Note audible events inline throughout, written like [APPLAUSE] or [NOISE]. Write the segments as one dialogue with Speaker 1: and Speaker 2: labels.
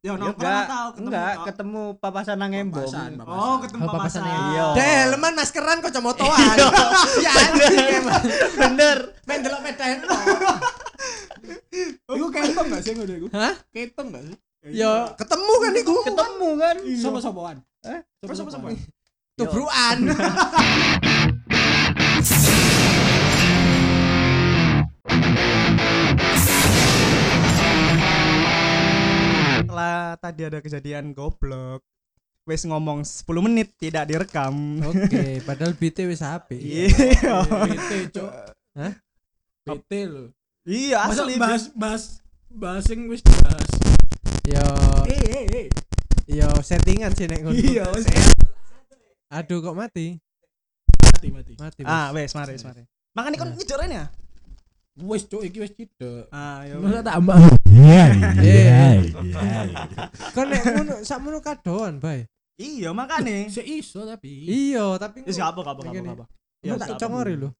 Speaker 1: Ya
Speaker 2: Ya
Speaker 1: nongkrong
Speaker 2: enggak,
Speaker 1: atau ketemu
Speaker 2: enggak
Speaker 1: kau-
Speaker 2: ketemu papasan nang embong.
Speaker 1: Papasan, papasan.
Speaker 3: Oh,
Speaker 1: Oh, ketemu
Speaker 3: ketemu
Speaker 1: papasan.
Speaker 3: papasan.
Speaker 2: Iya.
Speaker 3: Deh, leman maskeran kok
Speaker 2: [LAUGHS]
Speaker 3: comotoan. Ya anjing emang.
Speaker 2: Bener.
Speaker 3: Men delok
Speaker 4: [LAUGHS]
Speaker 3: medahen.
Speaker 1: Iku ketem enggak sih ngono iku?
Speaker 3: Hah?
Speaker 1: Ketem enggak sih?
Speaker 4: Iya.
Speaker 3: Ya iya. ketemu kan iku.
Speaker 2: Ketemu kan?
Speaker 1: Sopo-sopoan.
Speaker 2: Eh?
Speaker 1: Terus
Speaker 3: [LAUGHS]
Speaker 1: sopo-sopoan?
Speaker 3: Tubruan.
Speaker 1: Setelah tadi ada kejadian goblok. Wes ngomong 10 menit tidak direkam.
Speaker 3: Oke, padahal BT wis HP.
Speaker 1: [LAUGHS]
Speaker 4: Eh,
Speaker 1: Iya.
Speaker 4: BT cok
Speaker 3: Ya. Hah?
Speaker 4: BT lo
Speaker 1: Iya,
Speaker 4: masa
Speaker 1: asli.
Speaker 4: [LAUGHS] bahas bahas bahas yang wis bahas
Speaker 3: Yo
Speaker 4: eh eh eh
Speaker 3: yo settingan sih nek ngono.
Speaker 1: Iya, wes.
Speaker 3: Aduh kok mati?
Speaker 4: mati mati
Speaker 3: Mati.
Speaker 1: Ah, wes mari, wes, mari. Makane kon ngejoran ya?
Speaker 4: wes cok iki wes tidak
Speaker 1: Ah, ya.
Speaker 4: masa tambah iya
Speaker 3: iya, Kan nek ngono sakmono kadoan, Bay.
Speaker 1: Iya, makane.
Speaker 4: seiso tapi
Speaker 3: Iya, tapi
Speaker 1: Wis gak apa-apa, gak Iya,
Speaker 3: Begini.
Speaker 1: apa-apa.
Speaker 3: Ya tak congori lho.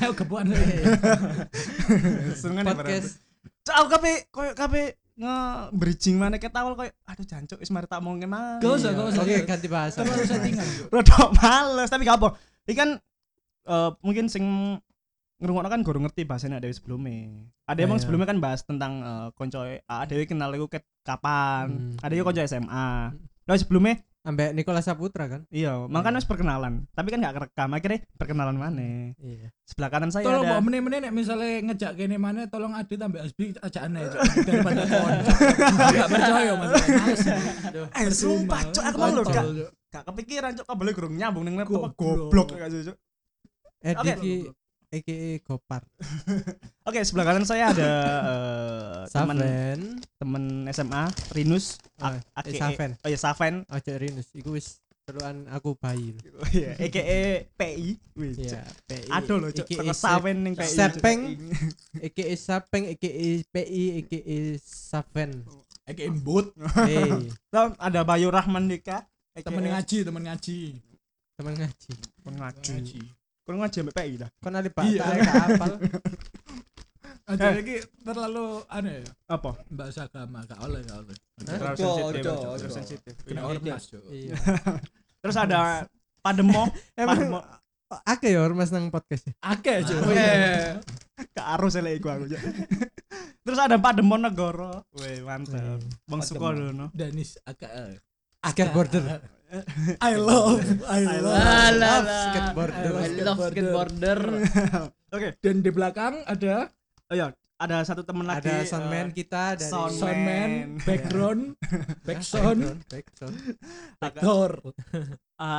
Speaker 4: ayo
Speaker 3: [LAUGHS]
Speaker 4: kebuan
Speaker 1: [LAUGHS]
Speaker 3: Iya,
Speaker 1: Seneng
Speaker 3: Podcast.
Speaker 1: Cok, aku kape koyo kape nge bridging mana ke tawel koyo aduh jancuk wis mari tak mau mana.
Speaker 4: Gak usah, gak usah.
Speaker 3: Iya.
Speaker 1: ya.
Speaker 3: Oke, ganti bahasa.
Speaker 4: terlalu settingan Cuk.
Speaker 1: Rada males tapi gak apa. Iki kan eh, mungkin sing ngrungokno kan guru ngerti bahasanya ada sebelumnya. Ada emang
Speaker 3: Iya.
Speaker 1: sebelumnya kan bahas tentang eh, konco ada kenal aku ket kapan.
Speaker 3: Hmm.
Speaker 1: Ada yo konco SMA. Lah sebelumnya
Speaker 3: Ambek Nikola Saputra kan?
Speaker 1: iya, makanya wis perkenalan. Tapi kan gak kerekam akhirnya perkenalan mana.
Speaker 3: Iya.
Speaker 1: Sebelah kanan saya
Speaker 4: tolong
Speaker 1: ada
Speaker 4: mbok meneh-meneh nek misale ngejak kene mana tolong adit tambah asbi ajak aneh Cok. daripada kon
Speaker 3: [LAUGHS]
Speaker 4: enggak percaya Mas males Aduh,
Speaker 1: Eh, sumpah,
Speaker 4: percuma.
Speaker 1: Cok, aku malu,
Speaker 4: Kontol,
Speaker 1: Kak.
Speaker 4: Cok.
Speaker 1: gak kepikiran cok kabelnya gurung nyambung ning laptop
Speaker 4: Goblok.
Speaker 1: goblok gak sih, Cok.
Speaker 3: Edi
Speaker 1: Oke.
Speaker 3: ki aka Gopar.
Speaker 1: Oke, sebelah kanan saya ada eh, teman
Speaker 3: Saven.
Speaker 1: temen SMA Rinus
Speaker 3: Ah,
Speaker 1: A-
Speaker 3: eh,
Speaker 1: aka-
Speaker 3: Saven.
Speaker 1: Oh iya Saven.
Speaker 3: Ojo Rinus iku wis seruan aku bayi. lho.
Speaker 1: Oh iya, AKA PI. Wih,
Speaker 3: Iya.
Speaker 1: Cok.
Speaker 3: PI.
Speaker 1: Aduh loh, Cuk.
Speaker 3: AKA
Speaker 1: Teko Saven ning PI. Cuk.
Speaker 3: Sepeng. Aka E Sapeng, E Aka PI, Aka E Saven.
Speaker 1: Oh.
Speaker 4: Iki embut
Speaker 3: Hey,
Speaker 1: Lah, ada Bayu Rahman Dika. aka
Speaker 4: temen ngaji temen ngaji
Speaker 3: teman ngaji.
Speaker 1: Kon ngaji.
Speaker 4: ngaji
Speaker 1: Kon ngaji ambek PI dah.
Speaker 3: Kon ada Pak
Speaker 4: Iya.
Speaker 3: Tarik apal.
Speaker 4: aja iki terlalu aneh ya
Speaker 1: Apa?
Speaker 4: bahasa agama gak oleh gak oleh
Speaker 1: Terlalu
Speaker 2: Cok,
Speaker 1: sensitif,
Speaker 2: Cok,
Speaker 1: Cok.
Speaker 2: Cok.
Speaker 1: Terlalu sensitif.
Speaker 4: kena ormas Cok.
Speaker 1: [LAUGHS]
Speaker 3: Iya.
Speaker 1: Terus ada Pademo, Pademo.
Speaker 3: [LAUGHS] Emang akeh ya ormas nang podcast.
Speaker 4: akeh Cok.
Speaker 3: Oh, iya.
Speaker 4: Eh,
Speaker 1: Ke arus elek iku aku. Cok. [LAUGHS] Terus ada Pademo Negoro. Wih, mantap. Bang Sukodono.
Speaker 4: Danis AKL
Speaker 3: Agar border.
Speaker 4: I love I
Speaker 1: love.
Speaker 4: love
Speaker 2: Alah,
Speaker 3: Love skateboarder.
Speaker 4: I
Speaker 2: I love skateboarder.
Speaker 1: Oke,
Speaker 4: dan di belakang ada
Speaker 1: oh iya, ada satu temen lagi.
Speaker 3: Ada
Speaker 1: eh,
Speaker 3: soundman kita dari
Speaker 1: sound-
Speaker 4: soundman
Speaker 1: Man.
Speaker 4: [LAUGHS] background backsound
Speaker 3: background.
Speaker 1: agak-
Speaker 4: door
Speaker 1: Eh,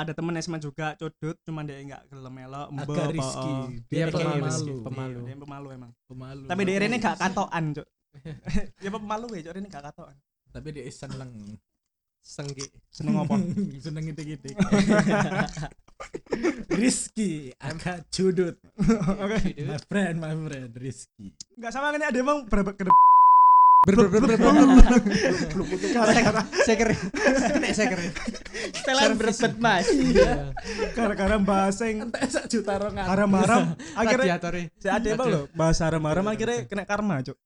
Speaker 1: ada temen SMA juga codut cuman dia nggak gelem melok mbo,
Speaker 4: agak
Speaker 1: apa,
Speaker 4: Rizky
Speaker 1: oh.
Speaker 3: Dia
Speaker 4: dia
Speaker 1: Aka
Speaker 3: pemalu.
Speaker 1: Rizky,
Speaker 4: pemalu
Speaker 3: Pemalu.
Speaker 1: Iya, dia pemalu emang
Speaker 4: pemalu
Speaker 1: tapi dia ini gak katoan cok [LAUGHS] ya apa pemalu ya cok ini gak katoan
Speaker 4: tapi dia seneng
Speaker 3: Senggi.
Speaker 1: seneng [LAUGHS] ngomong
Speaker 4: [LAUGHS] seneng gitu-gitu [LAUGHS] Rizky agak judut my friend my friend Rizky
Speaker 1: nggak sama kan ada emang berapa ke
Speaker 3: Ber ber ber ber.
Speaker 1: gara-gara
Speaker 3: Saya keren. Nek saya keren. Iya.
Speaker 2: Setelan berebet mas.
Speaker 1: Iya. gara-gara bahasa yang
Speaker 4: entah sak juta rong aku.
Speaker 1: haram-haram akhirnya
Speaker 3: Radiatornya.
Speaker 1: si ada emang loh bahasa haram-haram akhirnya kena karma cok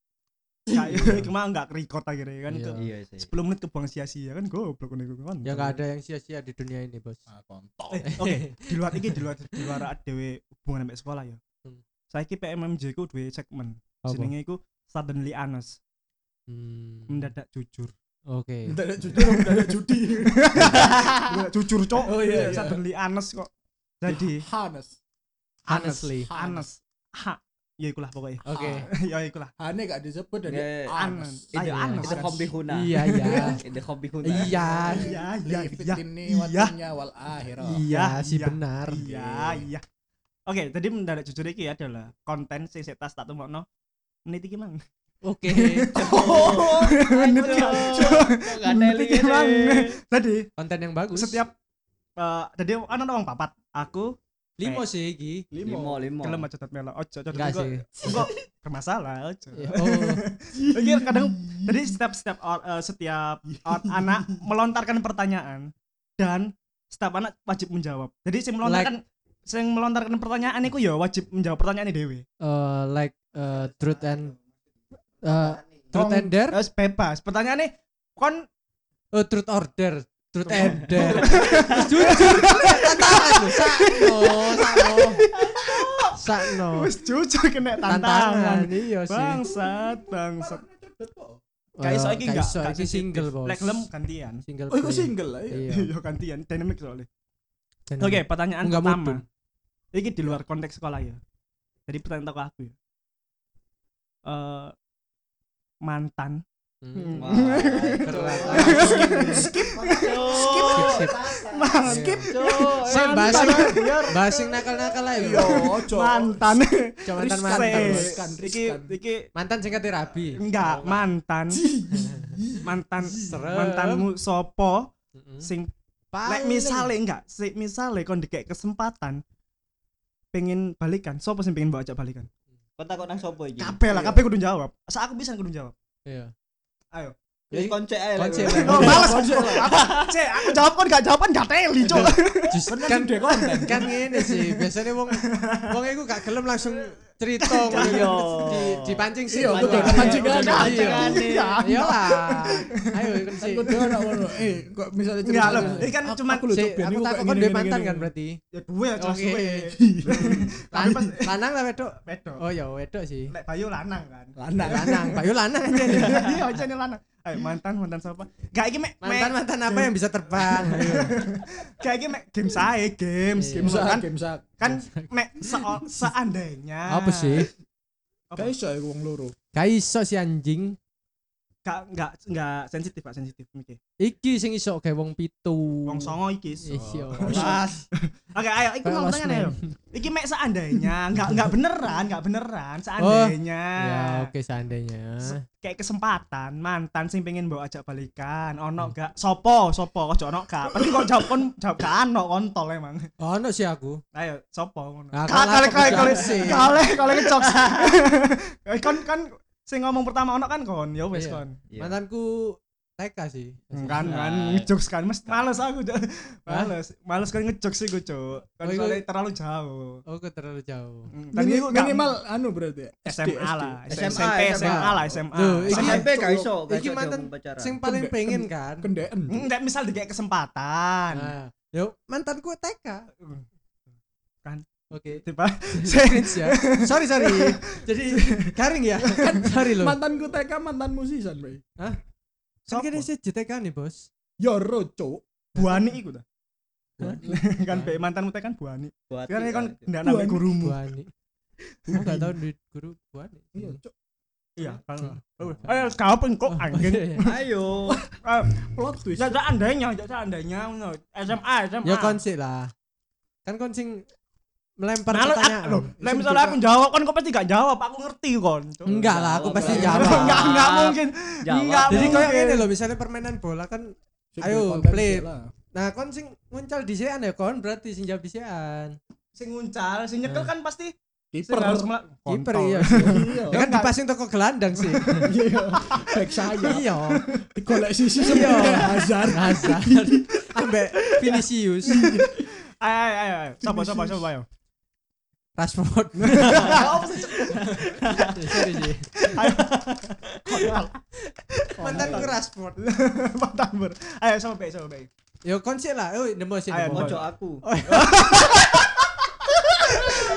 Speaker 1: kayak cuma nggak record akhirnya kan
Speaker 3: Iya.
Speaker 1: ke-
Speaker 2: Iya sih.
Speaker 1: 10 menit kebuang sia-sia kan goblok nih kan
Speaker 3: Ya enggak ada yang sia-sia di dunia ini, Bos.
Speaker 4: Ah, kontol
Speaker 1: Eh,
Speaker 3: [LAUGHS]
Speaker 1: oke di luar ini di luar di luar dewe hubungan sampai sekolah ya
Speaker 3: Hmm.
Speaker 1: saya ki PMMJ ku dua segmen
Speaker 3: Apa?
Speaker 1: jenenge iku suddenly honest
Speaker 3: Hmm.
Speaker 1: mendadak jujur
Speaker 3: Oke.
Speaker 4: Entah sak judul entah sak judi
Speaker 1: mendadak jujur cok
Speaker 4: Oh, iya, Ya, iya.
Speaker 1: suddenly honest kok jadi
Speaker 4: Hanes
Speaker 3: Honestly.
Speaker 1: honest ha ya ikulah pokoknya
Speaker 3: Oke.
Speaker 1: [LAUGHS] ya ikulah
Speaker 4: Hane gak disebut Iya. dari
Speaker 2: Yeah.
Speaker 4: Anes
Speaker 1: Ayo,
Speaker 2: Itu
Speaker 1: Anas.
Speaker 2: itu kombi
Speaker 1: Nah.
Speaker 2: huna.
Speaker 3: Iya,
Speaker 1: [LAUGHS]
Speaker 3: iya.
Speaker 2: [LAUGHS] Itu kombi huna.
Speaker 3: Iya.
Speaker 1: iya iya iya
Speaker 4: ini
Speaker 1: iya
Speaker 4: waktunya wal akhirah
Speaker 3: Iya, sih
Speaker 1: iya,
Speaker 3: benar.
Speaker 1: iya iya oke tadi mendadak jujur iki adalah konten sing setas tak tumokno menit iki mang
Speaker 3: Oke.
Speaker 1: [LAUGHS] menit
Speaker 2: Aduh,
Speaker 1: [LAUGHS]
Speaker 2: kok gak
Speaker 1: Menit
Speaker 2: teli
Speaker 1: iki mang
Speaker 2: ini.
Speaker 1: tadi
Speaker 3: Konten yang bagus.
Speaker 1: setiap eh, tadi ana orang papat aku Eh.
Speaker 3: limo sih iki.
Speaker 2: Limo, limo.
Speaker 1: gelem aja tet melo ojo ojo
Speaker 3: Enggak
Speaker 1: enggak
Speaker 3: sih.
Speaker 1: enggak bermasalah ojo
Speaker 3: Ya, Oh,
Speaker 1: Oke, kadang jadi setiap setiap or- eh, setiap or- anak melontarkan pertanyaan dan setiap anak wajib menjawab. Jadi sing melontarkan sing melontarkan pertanyaan iku ya wajib menjawab pertanyaan dhewe.
Speaker 3: eh, like eh, truth and eh, truth and dare.
Speaker 1: Terus bebas. Pertanyaane kon
Speaker 3: Oh, truth order, truth and dare. Terus [LAUGHS] jujur kena tantangan lho, sakno, sakno. Sakno.
Speaker 1: Wis jujur kena
Speaker 3: Oh. Tantangan
Speaker 1: tantangan.
Speaker 3: iya sih.
Speaker 1: Bangsat, bangsat.
Speaker 3: Kayak
Speaker 1: Kayak iso iki enggak
Speaker 3: iso, iki single, Bos.
Speaker 1: Lek gelem gantian.
Speaker 3: Single.
Speaker 1: Oh, iku
Speaker 3: play.
Speaker 1: single lah. [LAUGHS]
Speaker 3: Iya.
Speaker 1: Iya, gantian. Dynamic soalnya.
Speaker 3: Dan-
Speaker 1: Oke, pertanyaan
Speaker 3: Enggak
Speaker 1: pertama.
Speaker 3: mudun.
Speaker 1: Ini di luar konteks sekolah ya. Jadi pertanyaan toko aku ya. Eh, mantan.
Speaker 3: Hmm.
Speaker 2: Wah,
Speaker 3: Berat.
Speaker 1: [LAUGHS]
Speaker 2: Skip,
Speaker 3: Skip, skip.
Speaker 1: Skip.
Speaker 3: Sip, bahas
Speaker 1: Mantan.
Speaker 3: yang- bahas yang nakal-nakal aja.
Speaker 1: Iya,
Speaker 3: Yo,
Speaker 1: Mantan.
Speaker 3: Coba mantan
Speaker 1: Riskan,
Speaker 3: mantan.
Speaker 1: riskan, Iki iki
Speaker 3: Mantan sing kate rabi.
Speaker 1: enggak mantan. Mantan
Speaker 3: Serem. Hmm?
Speaker 1: mantanmu sopo
Speaker 3: Mm-mm.
Speaker 1: sing
Speaker 3: Paling-
Speaker 1: lek misale enggak sik misale kon dikek kesempatan pengen balikan sopo sing pengen mbok ajak balikan
Speaker 2: Kau takut nang sopo iki?
Speaker 1: kabeh lah kabeh kudu jawab sak aku bisa kudu jawab
Speaker 3: Iya.
Speaker 1: ayo
Speaker 2: Wis koncek ae.
Speaker 3: Koncek.
Speaker 1: oh males Aku- cek aku jawab kon enggak jawaban enggak teli cok
Speaker 3: Just- kan kan ngene sih biasanya wong wong iku gak gelem langsung
Speaker 4: [LAUGHS]
Speaker 3: cerita ngono
Speaker 2: Iya.
Speaker 3: di dipancing sih
Speaker 4: Iya, betul, dipancing kan.
Speaker 3: iya
Speaker 2: Iya.
Speaker 3: iya lah ayo kan sih
Speaker 4: Aku doang nak ngono.
Speaker 3: Iya.
Speaker 4: Eh, kok misalnya
Speaker 1: Enggak,
Speaker 4: cerita-
Speaker 1: loh. Ini kan
Speaker 4: Aku-
Speaker 1: cuman-
Speaker 4: aku lho,
Speaker 3: Sih,
Speaker 4: Cok, Ben,
Speaker 3: Iya, aku
Speaker 4: iku
Speaker 3: takut
Speaker 4: kayak
Speaker 3: kon
Speaker 4: gini,
Speaker 3: duwe
Speaker 4: gini,
Speaker 3: mantan
Speaker 4: gini.
Speaker 3: kan
Speaker 4: [LAUGHS]
Speaker 3: berarti
Speaker 1: ya duwe aja
Speaker 3: Oke.
Speaker 1: suwe
Speaker 3: Lan- lanang lah wedok
Speaker 1: bedo
Speaker 3: oh ya wedok sih
Speaker 1: lek bayu lanang kan
Speaker 4: Lanang.
Speaker 3: lanang bayu
Speaker 4: [LAUGHS]
Speaker 3: lanang aja nih.
Speaker 1: iya aja nih lanang ayo mantan mantan siapa gak iki mek
Speaker 3: mantan
Speaker 1: mek-
Speaker 3: mantan apa yang bisa
Speaker 4: [LAUGHS]
Speaker 3: terbang ayo
Speaker 1: gak iki mek game sae games
Speaker 3: Iya.
Speaker 1: games kan
Speaker 4: game sak.
Speaker 1: kan mek seo- seandainya
Speaker 3: apa sih
Speaker 1: Apa?
Speaker 4: Gak
Speaker 3: Iya.
Speaker 4: iso iku wong loro.
Speaker 3: gak iso si anjing
Speaker 1: gak gak gak sensitif pak sensitif mikir
Speaker 3: iki sing iso kayak wong pitu
Speaker 1: wong songo iki so.
Speaker 3: iya
Speaker 1: Oke, ayo iku
Speaker 3: Kayak
Speaker 1: mau
Speaker 3: Lost
Speaker 1: tangan ayo.
Speaker 3: Man.
Speaker 1: Iki mek seandainya, enggak enggak beneran, enggak beneran, seandainya.
Speaker 3: Oh. ya oke seandainya
Speaker 1: Se- Kayak kesempatan mantan sing pengen bawa ajak balikan,
Speaker 3: Hmm.
Speaker 1: ono gak? Sopo, sopo, ojo ono gak. Pasti kok jawab kon jawab gak ono kontol emang.
Speaker 3: Oh, ono sih aku
Speaker 1: Ayo, sopo ngono.
Speaker 3: Nah,
Speaker 1: Ka- Kale
Speaker 3: kalau aku
Speaker 1: kale kale
Speaker 3: jawab sih.
Speaker 1: kale kale ngejok. [LAUGHS] Kon kan sing ngomong pertama ono kan kon, ya wes
Speaker 3: Ah. Iya.
Speaker 1: kon.
Speaker 2: Iya.
Speaker 3: mantanku TK sih
Speaker 1: Kan kan
Speaker 2: Nah.
Speaker 1: ngejok kan, mas males aku. Cok.
Speaker 3: Hah?
Speaker 1: Males, males kan ngejok sih gue, Cuk. Kan
Speaker 3: Oh, iya.
Speaker 1: soalnya terlalu jauh.
Speaker 3: oh gue terlalu jauh
Speaker 1: Mm,
Speaker 4: Tapi
Speaker 1: tapi
Speaker 3: kan-
Speaker 1: aku gak-
Speaker 4: minimal anu berarti. SD,
Speaker 1: SMA lah,
Speaker 2: SD.
Speaker 1: SMP,
Speaker 2: SMA.
Speaker 1: SMA lah, SMA.
Speaker 3: Tuh, iki-
Speaker 1: Sama-
Speaker 2: SMP gak iso. gak
Speaker 3: iki
Speaker 2: iso
Speaker 3: mantan
Speaker 2: diomong pacaran.
Speaker 3: sing paling
Speaker 4: Kende-
Speaker 3: pengen
Speaker 4: kende-
Speaker 3: kan
Speaker 4: Kendeen.
Speaker 1: Enggak hmm, misal dikasih kesempatan.
Speaker 3: nah yuk mantanku TK
Speaker 1: Kan.
Speaker 3: oke
Speaker 1: Tiba
Speaker 3: cringe ya sorry sorry [LAUGHS] jadi garing ya sorry loh
Speaker 4: Mantanku TK mantanmu sisan, Bre.
Speaker 3: kan kira sih JTK nih bos
Speaker 4: Ya ro, Cok.
Speaker 1: Buani iku ta.
Speaker 3: Buani.
Speaker 1: [LAUGHS] kan be mantanmu teh kan Buani.
Speaker 2: Buat
Speaker 1: Kan
Speaker 2: iya,
Speaker 1: kan
Speaker 2: iya.
Speaker 1: ndak nambah
Speaker 4: Buani.
Speaker 1: gurumu.
Speaker 3: Buani aku gak tau di guru Buani
Speaker 4: Iya, Cok.
Speaker 1: Iya,
Speaker 3: Buani.
Speaker 1: kan. Ayo kapan
Speaker 3: Oh,
Speaker 1: kok
Speaker 3: Hmm. iya, [LAUGHS]
Speaker 1: angin?
Speaker 2: Ayo.
Speaker 1: Eh,
Speaker 4: Plot twist.
Speaker 1: Ya seandainya, ya seandainya ngono. SMA, SMA.
Speaker 3: ya kon sih lah kan kon sing melempar
Speaker 1: Nah, lo- ah,
Speaker 3: pertanyaan
Speaker 1: loh, lah
Speaker 3: Sing
Speaker 1: misalnya
Speaker 3: juga-
Speaker 1: aku jawab kan kau pasti gak jawab, aku ngerti kon.
Speaker 3: enggak lah aku
Speaker 2: Jawab lah.
Speaker 3: pasti jawab
Speaker 1: Enggak, enggak mungkin.
Speaker 2: Oh, Jawab.
Speaker 1: Enggak
Speaker 3: jadi
Speaker 1: mungkin.
Speaker 3: kayak gini loh misalnya permainan bola kan Ayo, play. nah kon sing muncul di sian ya kon berarti sing jawab di sian
Speaker 1: Sing nguncal, sing nyekel
Speaker 3: Hmm.
Speaker 1: kan pasti sing
Speaker 4: Kiper.
Speaker 1: harus melak.
Speaker 3: kiper
Speaker 1: Kontol.
Speaker 3: iya sih
Speaker 4: Iya.
Speaker 3: ya kan dipasing toko gelandang
Speaker 1: [LAUGHS]
Speaker 3: sih
Speaker 4: [LAUGHS] Iya. Back saya.
Speaker 3: iya
Speaker 4: Golek sisi
Speaker 3: Iya.
Speaker 4: sebenarnya Hazard.
Speaker 1: [LAUGHS]
Speaker 3: Hazard ambek Vinicius
Speaker 1: Ayo, ayo, ayo, ayo. Coba, [LAUGHS] coba, coba, ayo. [LAUGHS]
Speaker 3: Rashford sorry sih mantan ku Rashford
Speaker 1: Patah ber. Ayo, coba, baik, coba, baik.
Speaker 3: ya kon sih lah oh nemu sih
Speaker 1: Ayo,
Speaker 3: nemu.
Speaker 1: Ojo.
Speaker 2: Ojo aku.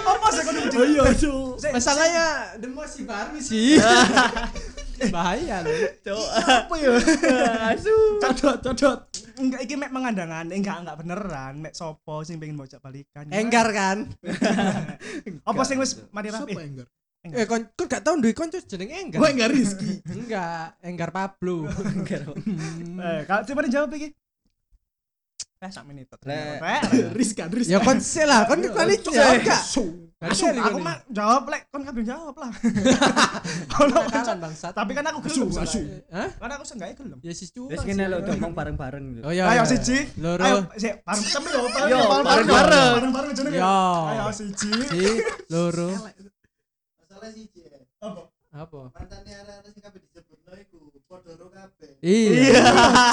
Speaker 1: Apa sih kau
Speaker 4: Oh iya, Cok.
Speaker 3: masalahnya nemu si Barmi sih
Speaker 1: [LAUGHS]
Speaker 3: bahaya loh
Speaker 2: Cok.
Speaker 1: Apa ya?
Speaker 2: Asu.
Speaker 4: Codot, codot.
Speaker 1: Enggak, iki mek mengandangan, enggak, enggak beneran. Mek sopo sing pengen bocah balikan.
Speaker 3: enggar kan
Speaker 1: [LAUGHS] Apa sing wis mari
Speaker 4: Siapa
Speaker 1: rapi?
Speaker 4: Enggar?
Speaker 3: eh kon kon gak tau duwe konco jenenge
Speaker 4: Gue
Speaker 3: enggar
Speaker 4: Enggar Rizky.
Speaker 3: enggak enggar Pablo
Speaker 1: Eh, kalau coba dijawab iki. Eh, iya. sak menit.
Speaker 2: Lek.
Speaker 4: Rizkan,
Speaker 3: ya
Speaker 4: Rizkan.
Speaker 3: kon sih lah kon kan itu jawab gak
Speaker 1: Asu, aku mah jawab lek, kon kabeh jawab lah. Ono
Speaker 3: nakalan bangsat
Speaker 1: Tapi kan aku
Speaker 4: Asu,
Speaker 1: gelem.
Speaker 4: asu.
Speaker 1: soalnya.
Speaker 3: Hah?
Speaker 1: Kan aku sengaja gelem.
Speaker 3: ya sis cuma
Speaker 2: Wis ngene lho diomong bareng-bareng.
Speaker 3: oh ya
Speaker 1: Ayo siji.
Speaker 3: loro
Speaker 1: Ayo, sik, bareng tapi yo,
Speaker 2: Yo,
Speaker 1: bareng bareng
Speaker 2: bareng-bareng.
Speaker 1: bareng bareng jenenge.
Speaker 3: Yo.
Speaker 1: Ayo siji.
Speaker 3: si loro
Speaker 5: Masalah sih Cie.
Speaker 1: Apa?
Speaker 3: apa
Speaker 5: Mantannya arah-arah sing kabeh disebutno iku podoro kabeh.
Speaker 3: iya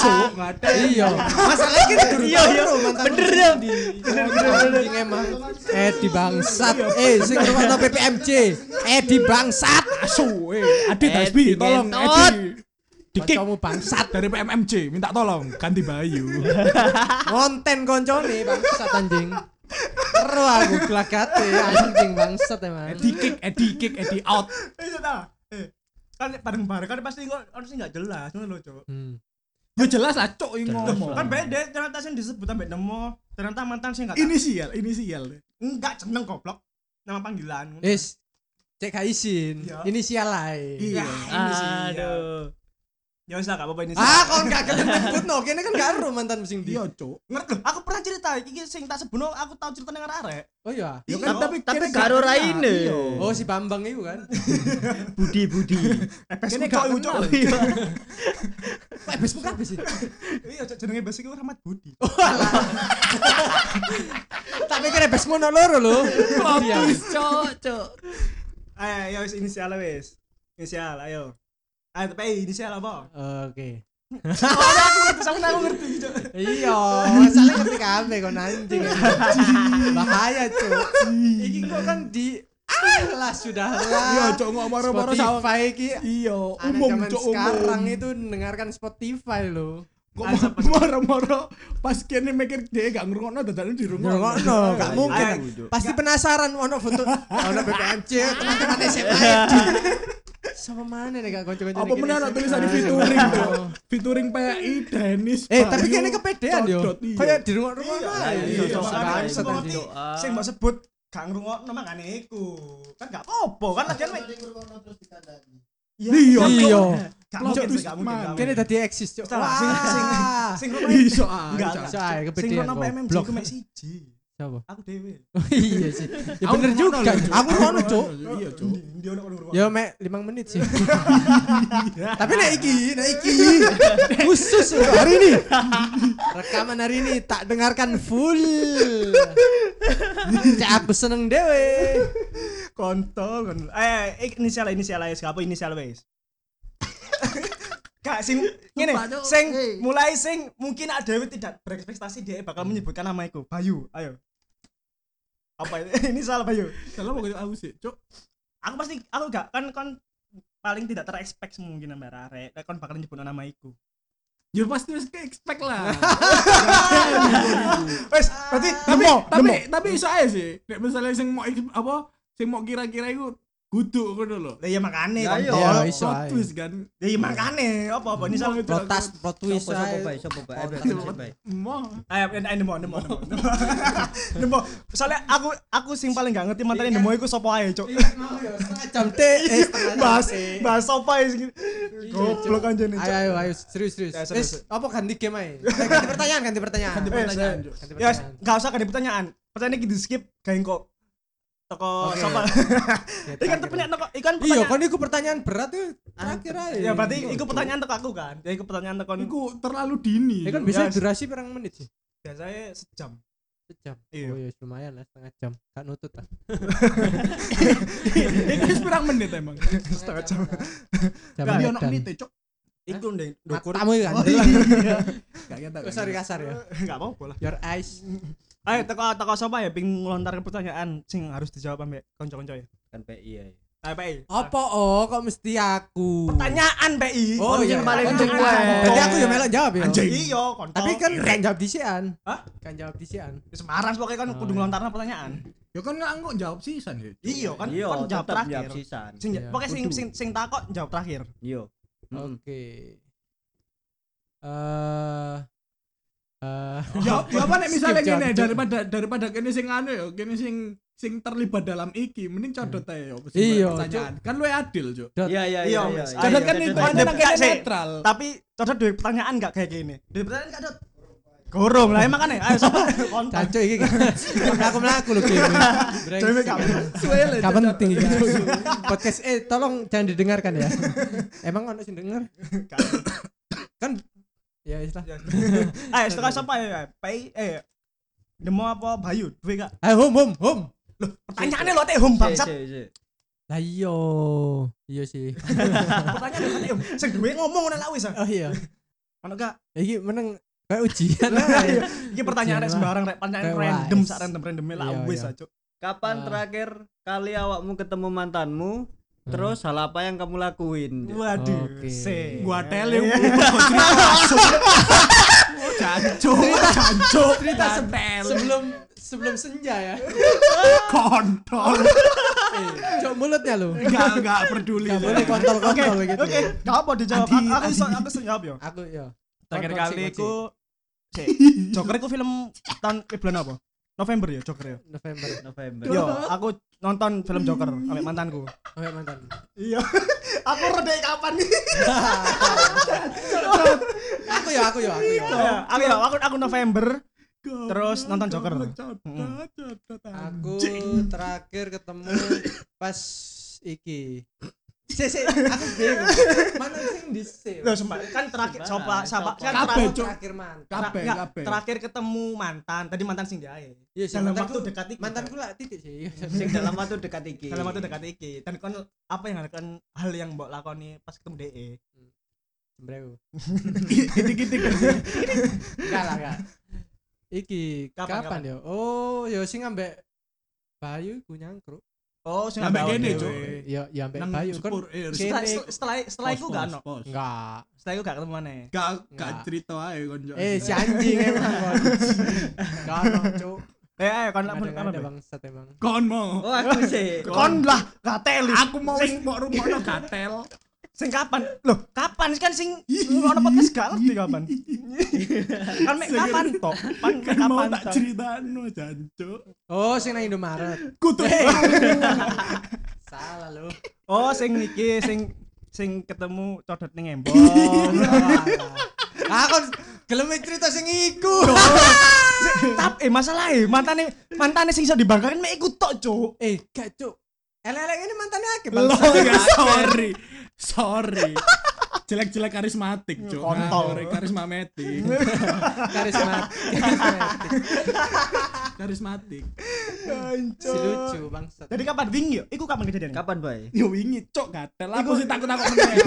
Speaker 1: Cuk, ngate.
Speaker 3: iya
Speaker 2: Masalah iki durung Iya, iya. Bener ya.
Speaker 1: Bener bener bener.
Speaker 3: anjing emang Iya. Edi bangsat eh sing ngrungokno PPMC Edi bangsat
Speaker 4: Asu, eh, Adit Hasbi,
Speaker 2: Edit,
Speaker 4: tolong
Speaker 2: Edit.
Speaker 4: Edi. Dikik.
Speaker 3: Kancamu bangsat.
Speaker 4: Dari PMMJ minta tolong ganti Bayu.
Speaker 3: Konten koncone bangsat anjing. Seru aku gelagate anjing bangsat emang.
Speaker 4: Edi kick, Edi kick, Edi out.
Speaker 1: Iya tau. Eh, Kan bareng-bareng kan pasti kok harusnya nggak jelas ngono lho, Cok.
Speaker 3: Hmm.
Speaker 4: Ya jelas lah cok yang ngomong.
Speaker 1: Kan beda ternyata sing disebut ambek nemo, ternyata mantan sing enggak
Speaker 4: Inisial, inisial.
Speaker 1: enggak jeneng goblok. Nama panggilan.
Speaker 3: Is cek gak izin.
Speaker 1: Iya.
Speaker 3: Inisial lae.
Speaker 1: Iya, ini sih, iya.
Speaker 2: Aduh.
Speaker 1: Ya wis lah gak apa-apa ini. sih.
Speaker 3: Ah, kon gak gelem nyebutno, kene kan gak ero mantan sing di.
Speaker 4: Iya cok.
Speaker 1: ngerti lho, aku pernah cerita iki sing tak sebutno aku tau cerita nang arek.
Speaker 3: Oh iya.
Speaker 1: Iya,
Speaker 4: tapi
Speaker 2: kan, Tapi
Speaker 4: kene
Speaker 2: karo
Speaker 4: gak kenal.
Speaker 2: raine.
Speaker 4: Iya.
Speaker 3: Oh si Bambang itu kan.
Speaker 2: Budi Budi.
Speaker 1: Ebesmu
Speaker 4: Kene
Speaker 1: cok, Eh,
Speaker 4: gak
Speaker 1: iku, cok.
Speaker 4: kenal.
Speaker 3: Pak besmu kabeh sih.
Speaker 1: [LAUGHS] Iya, cok, jenenge Bes iku Rahmat Budi.
Speaker 3: Tapi kene besmu ono loro lho. Iya.
Speaker 2: Cok cok.
Speaker 1: Ayo, Eh, ya wis inisial wis. Inisial, ayo. Ayo tapi eh, inisial apa?
Speaker 3: Oke.
Speaker 1: Sampe aku ngerti, Cok.
Speaker 3: Iya, salah ngerti kabeh kon anjing. Bahaya, Cuk. Iki kok kan di Alah sudahlah.
Speaker 4: Iya cok ngomong marah-marah sama.
Speaker 3: Spotify iki
Speaker 4: Iya,
Speaker 3: anak
Speaker 4: umum
Speaker 3: zaman
Speaker 4: cok
Speaker 3: sekarang
Speaker 4: umum.
Speaker 3: itu dengarkan Spotify lo.
Speaker 4: Kok
Speaker 1: Ah, siapa-
Speaker 4: marah-marah pas kene mikir dia gak ngrungokno dadane di rumah.
Speaker 3: Ngrungokno, gak mungkin.
Speaker 1: Ayo,
Speaker 3: Pasti penasaran ono foto gitu. ono
Speaker 4: [LAUGHS]
Speaker 3: BPMC teman-teman SMA. Sama mana nih gak konco-konco
Speaker 4: Iya.
Speaker 3: Iya.
Speaker 4: Apa meneh ana tulisan di featuring cok. [LAUGHS] Featuring PI Dennis.
Speaker 3: [LAUGHS] Eh, tapi
Speaker 4: Bayu,
Speaker 3: kene kepedean yo.
Speaker 4: Codot, iya.
Speaker 3: Kayak di rumah-rumah
Speaker 1: Iya,
Speaker 3: ae.
Speaker 1: iya,
Speaker 2: Cok,
Speaker 1: makanya
Speaker 2: makanya
Speaker 1: aku
Speaker 2: bangsat,
Speaker 1: ngerti
Speaker 2: anjing. Doa.
Speaker 1: Sing mbok sebut gak ngrungokno makane iku. Kan gak apa-apa, kan lagian mek-
Speaker 5: terus dikandani.
Speaker 4: Iya.
Speaker 3: Iya.
Speaker 1: gak
Speaker 4: Plot
Speaker 1: mungkin sih,
Speaker 4: twist,
Speaker 1: gak mungkin.
Speaker 4: man.
Speaker 1: gak
Speaker 3: Kene
Speaker 1: mungkin.
Speaker 3: dadi eksis, Cuk.
Speaker 1: Salah, sing sing sing ngrungokno-
Speaker 4: Iso ah.
Speaker 1: Enggak,
Speaker 4: Cok.
Speaker 1: enggak.
Speaker 3: Saya
Speaker 1: sing
Speaker 3: kepedean.
Speaker 1: ngrungokno PMMJ
Speaker 3: goblok.
Speaker 1: iku mek siji.
Speaker 3: Siapa? [LAUGHS]
Speaker 1: Aku dhewe.
Speaker 3: Oh, iya sih. Ya
Speaker 4: Aku
Speaker 3: bener
Speaker 4: ngono
Speaker 3: juga.
Speaker 4: lho, Cuk.
Speaker 3: Aku ngono, Cuk.
Speaker 4: Iya cok.
Speaker 1: Ndi- ndi ono kono ngrungokno.
Speaker 3: Ya mek 5 menit
Speaker 1: [LAUGHS]
Speaker 3: sih. Tapi nek iki, nek iki khusus untuk hari ini. Rekaman hari ini tak dengarkan full. Cak aku seneng dewe.
Speaker 1: kontol kontol eh ik- inisial inisial aja apa inisial wes Kak, sing ngene, sing mulai sing mungkin ada dewe tidak berekspektasi dia bakal menyebutkan nama iku. Bayu, ayo. Apa ini? [LAUGHS] Inisial Bayu.
Speaker 4: Salah mau aku sih cok.
Speaker 1: Aku pasti aku gak kan kon paling tidak terexpect mungkin sama Rare. Kon kan bakal nyebut nama iku.
Speaker 4: Ya pasti wis expect
Speaker 3: [LAUGHS]
Speaker 4: lah.
Speaker 1: Wes, berarti
Speaker 4: tapi
Speaker 1: demo,
Speaker 4: tapi
Speaker 1: demo.
Speaker 4: tapi iso ae sih. Nek misalnya sing mau ik- apa sing mau kira-kira iku kudu ngono lho.
Speaker 1: Lah iya makane.
Speaker 2: Ya,
Speaker 1: kontol.
Speaker 2: iya.
Speaker 1: Lah
Speaker 3: Ya, iso
Speaker 4: Plot
Speaker 3: ae.
Speaker 4: twist kan.
Speaker 1: iya makane. Apa-apa inisial.
Speaker 4: Mau itu aku-
Speaker 3: Protas pro twist.
Speaker 2: Sopo sopo
Speaker 3: ae.
Speaker 2: bae sopo bae.
Speaker 3: Otak.
Speaker 2: Sopo bae.
Speaker 4: Mau.
Speaker 1: Ayo, ayo, ayo, Eh, nemu, nemu, nemu, nemu. [LAUGHS] nemu. Soalnya aku, aku sing paling gak ngerti mantan
Speaker 3: Iya.
Speaker 1: nemu iku sopo ae, cok.
Speaker 3: Mau ya, setengah jam teh,
Speaker 1: Iya,
Speaker 3: eh, setengah jam
Speaker 1: Bahas,
Speaker 3: teh.
Speaker 1: bahas sopo ae sing. Goblok anjene,
Speaker 3: Iya, Ayo
Speaker 1: cok.
Speaker 3: ayo ayo serius serius.
Speaker 1: Ya,
Speaker 3: Wis,
Speaker 1: serius.
Speaker 3: apa ganti game
Speaker 1: [LAUGHS]
Speaker 3: ae? Eh, Ganti pertanyaan, ganti pertanyaan.
Speaker 4: Ganti
Speaker 1: Eh,
Speaker 4: pertanyaan,
Speaker 1: saya-
Speaker 4: Cuk.
Speaker 3: Ganti
Speaker 1: Ya, wes,
Speaker 3: pertanyaan.
Speaker 1: gak usah ada pertanyaan. Pertanyaan iki di skip, gak engko. Toko
Speaker 3: Oke.
Speaker 1: sopo. [LAUGHS]
Speaker 3: Ya,
Speaker 1: Ikan
Speaker 3: terakhir.
Speaker 1: pertanyaan toko, ikan
Speaker 3: Iya,
Speaker 1: kan pertanyaan.
Speaker 3: kan Iya, iku pertanyaan berat ya. Terakhir ae.
Speaker 1: Ya berarti iku pertanyaan toko aku kan. Ya iku pertanyaan toko niku
Speaker 4: Iku terlalu dini.
Speaker 3: [LAUGHS] Ya
Speaker 4: Cuk.
Speaker 3: kan biasanya
Speaker 1: iya. Yes.
Speaker 3: durasi berapa menit sih?
Speaker 1: biasanya sejam.
Speaker 3: Sejam.
Speaker 1: Iya.
Speaker 3: Oh iya lumayan lah setengah jam. Gak nutut lah.
Speaker 4: Iku wis pirang menit emang.
Speaker 1: [LAUGHS] Setengah jam.
Speaker 3: Iya,
Speaker 1: Gak,
Speaker 3: Jam
Speaker 4: Tapi
Speaker 3: edan.
Speaker 4: ono menit e cok.
Speaker 1: Iku ndek ndukur.
Speaker 3: Matamu ya kan.
Speaker 4: Gak ngetak.
Speaker 3: Oh, [LAUGHS] Sorry kasar ya.
Speaker 1: [LAUGHS] Gak apa-apa lah.
Speaker 3: Your eyes.
Speaker 1: Ayo toko toko sopo ya ping ngelontarkan pertanyaan sing harus dijawab ambek kanca-kanca ya.
Speaker 2: Kan PI ae.
Speaker 1: Ayo, E. PI.
Speaker 3: Apa oh kok mesti aku?
Speaker 1: Pertanyaan PI.
Speaker 3: Oh
Speaker 1: Kon
Speaker 3: iya.
Speaker 1: sing paling
Speaker 3: Kon sing
Speaker 1: cuek.
Speaker 3: paling- Berarti aku ya melok jawab ya.
Speaker 4: Anjing.
Speaker 1: Iya, kontol.
Speaker 3: Tapi kan kan jawab disian.
Speaker 1: Hah?
Speaker 3: Kan jawab disian.
Speaker 1: Semarang pokoknya kan kudu ngelontarno pertanyaan.
Speaker 4: Ya kan nggak engko jawab sisan ya. Cuk.
Speaker 1: Iya kan
Speaker 2: Iya,
Speaker 1: kon jawab
Speaker 2: tetep
Speaker 1: terakhir.
Speaker 2: jawab sisan.
Speaker 1: Sing
Speaker 3: Iya. Oh.
Speaker 1: pokoknya sing
Speaker 2: Kudu.
Speaker 1: sing sing takok jawab terakhir.
Speaker 2: Iya. Mm.
Speaker 3: Oke. Eh eh
Speaker 4: Ya, ya
Speaker 1: kan,
Speaker 4: apa nek misalnya
Speaker 3: Skip, jangan,
Speaker 4: gini
Speaker 3: Cuk.
Speaker 4: daripada daripada kene sing anu ya, kene sing sing terlibat dalam iki mending codot ae ya
Speaker 3: Iya,
Speaker 4: pertanyaan. Kan lu adil, Cuk.
Speaker 2: Iya iya
Speaker 1: Iya,
Speaker 2: iya. iya.
Speaker 1: Mas.
Speaker 4: Codot
Speaker 2: Ayo,
Speaker 4: kan
Speaker 2: Cok,
Speaker 4: iku
Speaker 2: Cok.
Speaker 1: Codot.
Speaker 4: kan kene
Speaker 1: Sik.
Speaker 4: netral.
Speaker 1: Tapi cocok duwe pertanyaan enggak kayak gini. Duwe pertanyaan enggak, Dot? Gorong lah emang kan ya. Ayo
Speaker 3: [LAUGHS]
Speaker 1: sopo kontol.
Speaker 3: Cancuk iki melaku melaku lho game.
Speaker 1: Dewe gak
Speaker 4: Suwe lah,
Speaker 3: Gak
Speaker 4: Cok.
Speaker 3: penting iki. [LAUGHS] Podcast eh tolong jangan didengarkan ya. [LAUGHS] Emang ono sing denger? Kan ya istilah.
Speaker 1: Ayo setengah sopo ya. PI eh Demo apa Bayu? Duwe gak?
Speaker 3: Ayo hum hum hum.
Speaker 1: Pertanyaannya lo teh hum bangsat.
Speaker 2: Cek, cek, cek.
Speaker 3: Lah iya. Iya sih.
Speaker 1: Pertanyaan lo teh hum. Sing duwe ngomong ora lawis. ah.
Speaker 3: [LAUGHS] Oh iya.
Speaker 1: Ono gak?
Speaker 3: Iki meneng kayak ujian
Speaker 1: Iya.
Speaker 3: [LAUGHS] ae.
Speaker 1: Iki pertanyaan rek
Speaker 3: Jelas.
Speaker 1: sembarang rek pertanyaan
Speaker 3: Kayak
Speaker 1: random
Speaker 3: wise.
Speaker 1: sak random-randomnya
Speaker 3: Iya,
Speaker 1: lah wis
Speaker 3: iya.
Speaker 1: aja.
Speaker 2: Kapan
Speaker 3: Ah.
Speaker 2: terakhir kali awakmu ketemu mantanmu
Speaker 1: Hmm.
Speaker 2: Terus hal apa yang kamu lakuin?
Speaker 1: Iya.
Speaker 2: Cuk?
Speaker 1: Waduh, Iya.
Speaker 3: Oke.
Speaker 1: sih.
Speaker 4: Gua tele
Speaker 1: [LAUGHS] Jancuk, jancuk,
Speaker 3: cerita sebelum sebelum senja ya
Speaker 1: kontol.
Speaker 3: cok mulutnya lo
Speaker 1: Enggak, enggak peduli.
Speaker 3: Nggak boleh kontol-kontol
Speaker 1: Oke,
Speaker 3: begitu.
Speaker 1: oke. Enggak apa dijawab.
Speaker 3: Adi,
Speaker 1: Aku- Aku iso aku iso jawab yo.
Speaker 3: aku ya
Speaker 1: Terakhir
Speaker 3: Kocok,
Speaker 1: kali
Speaker 3: kocok.
Speaker 1: ku
Speaker 2: [LAUGHS]
Speaker 1: Cek, Joker iku film tahun eh, bulan apa? November ya Joker ya.
Speaker 3: November
Speaker 2: November.
Speaker 1: Yo, aku nonton film Joker sama mantanku.
Speaker 3: oke [LAUGHS] mantan
Speaker 1: Iya. aku reda kapan nih?
Speaker 3: aku ya aku ya aku ya
Speaker 1: aku ya, aku aku November terus nonton Joker. Mm.
Speaker 3: aku terakhir ketemu pas iki si si aku bingung mana sing di si
Speaker 1: Loh, sumpah, kan terakhir
Speaker 2: Sumpah,
Speaker 1: coba sama
Speaker 2: coba.
Speaker 1: kan
Speaker 4: Kabeh,
Speaker 1: terakhir
Speaker 4: Cok.
Speaker 3: terakhir mantan
Speaker 1: tera-
Speaker 4: Kabeh,
Speaker 1: enggak,
Speaker 4: kabeh.
Speaker 1: terakhir ketemu mantan. Tadi mantan sing jahe.
Speaker 3: iya sih
Speaker 1: Dalam waktu
Speaker 3: mantanku
Speaker 1: dekat iki.
Speaker 3: mantanku lah titik sih Iya,
Speaker 2: Sing dalam waktu dekat iki.
Speaker 1: dalam waktu dekat iki. Dan kon apa yang kon hal yang mbok lakoni pas ketemu E? DE?
Speaker 3: jembreu
Speaker 1: Gitu-gitu kan.
Speaker 3: enggak lah enggak iki
Speaker 1: Kapan,
Speaker 3: kapan,
Speaker 1: kapan?
Speaker 3: ya oh ya sing ambek Bayu ku nyangkruk
Speaker 1: Oh, sing
Speaker 4: Sampai
Speaker 1: ambek
Speaker 4: kene,
Speaker 1: dewe.
Speaker 4: Cuk.
Speaker 3: ya ya ambek
Speaker 4: Nang
Speaker 3: Bayu kan
Speaker 4: sepur air.
Speaker 3: Oke.
Speaker 1: Setelah
Speaker 3: Kene-
Speaker 1: setelah setelah iku gak ono.
Speaker 4: Pos, pos.
Speaker 3: enggak
Speaker 1: Setelah iku gak ketemu maneh.
Speaker 4: Gak gak
Speaker 3: Enggak.
Speaker 4: cerita ae konco.
Speaker 3: eh si anjing emang kon Enggak, no, cuk
Speaker 1: Eh, ayo kon
Speaker 3: ada
Speaker 1: lakon
Speaker 3: ada bangsat emang
Speaker 4: kon mau.
Speaker 2: Oh, aku sih.
Speaker 1: Kon lah gateli.
Speaker 4: Aku mau
Speaker 1: sing
Speaker 4: wis mbok rumono gatel.
Speaker 1: [LAUGHS] sing kapan? Loh, kapan kan
Speaker 4: [LAUGHS]
Speaker 1: sing ono podcast gak ngerti kapan. Kan mek kapan tok? Pan mek
Speaker 4: Kan mau
Speaker 1: kapan
Speaker 4: tak
Speaker 1: tok?
Speaker 4: ceritano jancuk.
Speaker 3: oh sing nang Indomaret
Speaker 4: Kutu. [LAUGHS]
Speaker 3: salah lu
Speaker 1: Oh, sing iki sing sing ketemu codot ning embong.
Speaker 4: [LAUGHS]
Speaker 3: Iya. aku gelem cerita sing iku
Speaker 1: Tap eh masalahe mantane mantane sing iso dibanggakan mek iku tok, Cuk.
Speaker 3: eh gak cuk elek-elek ini mantannya akeh
Speaker 4: Loh,
Speaker 1: Oh,
Speaker 3: bangsat
Speaker 1: iya,
Speaker 4: enggak, [LAUGHS] sorry. Sorry. Jelek-jelek karismatik, Cuk.
Speaker 1: Kontol.
Speaker 4: Nah, Karismatik.
Speaker 3: karismatik
Speaker 4: Karismatik.
Speaker 3: si lucu bangsat
Speaker 1: Jadi kapan wingi yo? Iku kapan kejadian?
Speaker 2: Kapan, Bay?
Speaker 4: Yo wingi cok gatel. Aku
Speaker 1: Iku-
Speaker 4: sih takut-takut meneh.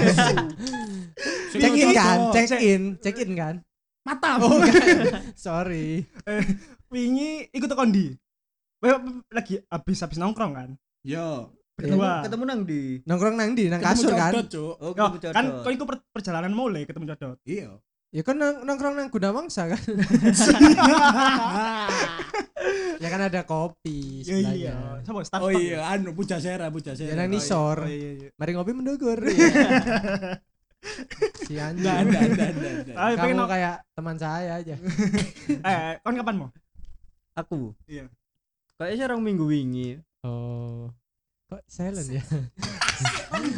Speaker 4: Sing
Speaker 3: check in
Speaker 4: cocok.
Speaker 3: kan check in check in kan
Speaker 4: Mata.
Speaker 3: oh enggak. sorry
Speaker 1: Eh, wingi iku tekan ndi? Weh, lagi habis-habis nongkrong kan?
Speaker 4: Yo.
Speaker 1: Berdua.
Speaker 2: Ketemu nang di.
Speaker 3: nongkrong nang di nang
Speaker 4: Ketemu
Speaker 3: kasur kan
Speaker 4: codot, Cuk.
Speaker 2: Oh,
Speaker 1: Oh,
Speaker 2: ketemu
Speaker 1: kan
Speaker 2: jodoh.
Speaker 1: kau iku per- perjalanan mulai ketemu codot.
Speaker 4: Iya.
Speaker 3: ya kan nong- nongkrong nang Gunawangsa kan ya kan ada kopi
Speaker 1: Iya iya.
Speaker 3: sebelahnya
Speaker 1: Sama start.
Speaker 4: Oh iya, anu Pujasera, Pujasera.
Speaker 3: ya nang
Speaker 4: Oh, iya.
Speaker 3: nisor
Speaker 1: Oh iya iya.
Speaker 3: mari ngopi mendukur si
Speaker 4: Enggak,
Speaker 3: anjing
Speaker 4: enggak, enggak, enggak,
Speaker 2: [LAUGHS]
Speaker 4: enggak.
Speaker 1: Ah, pengen
Speaker 3: kamu
Speaker 1: no-
Speaker 3: kayak teman saya aja
Speaker 1: eh kon kapan mau?
Speaker 2: Aku.
Speaker 1: Iya.
Speaker 2: Kayaknya sih orang minggu wingi.
Speaker 3: oh kok silent ya
Speaker 4: [LAUGHS] Aku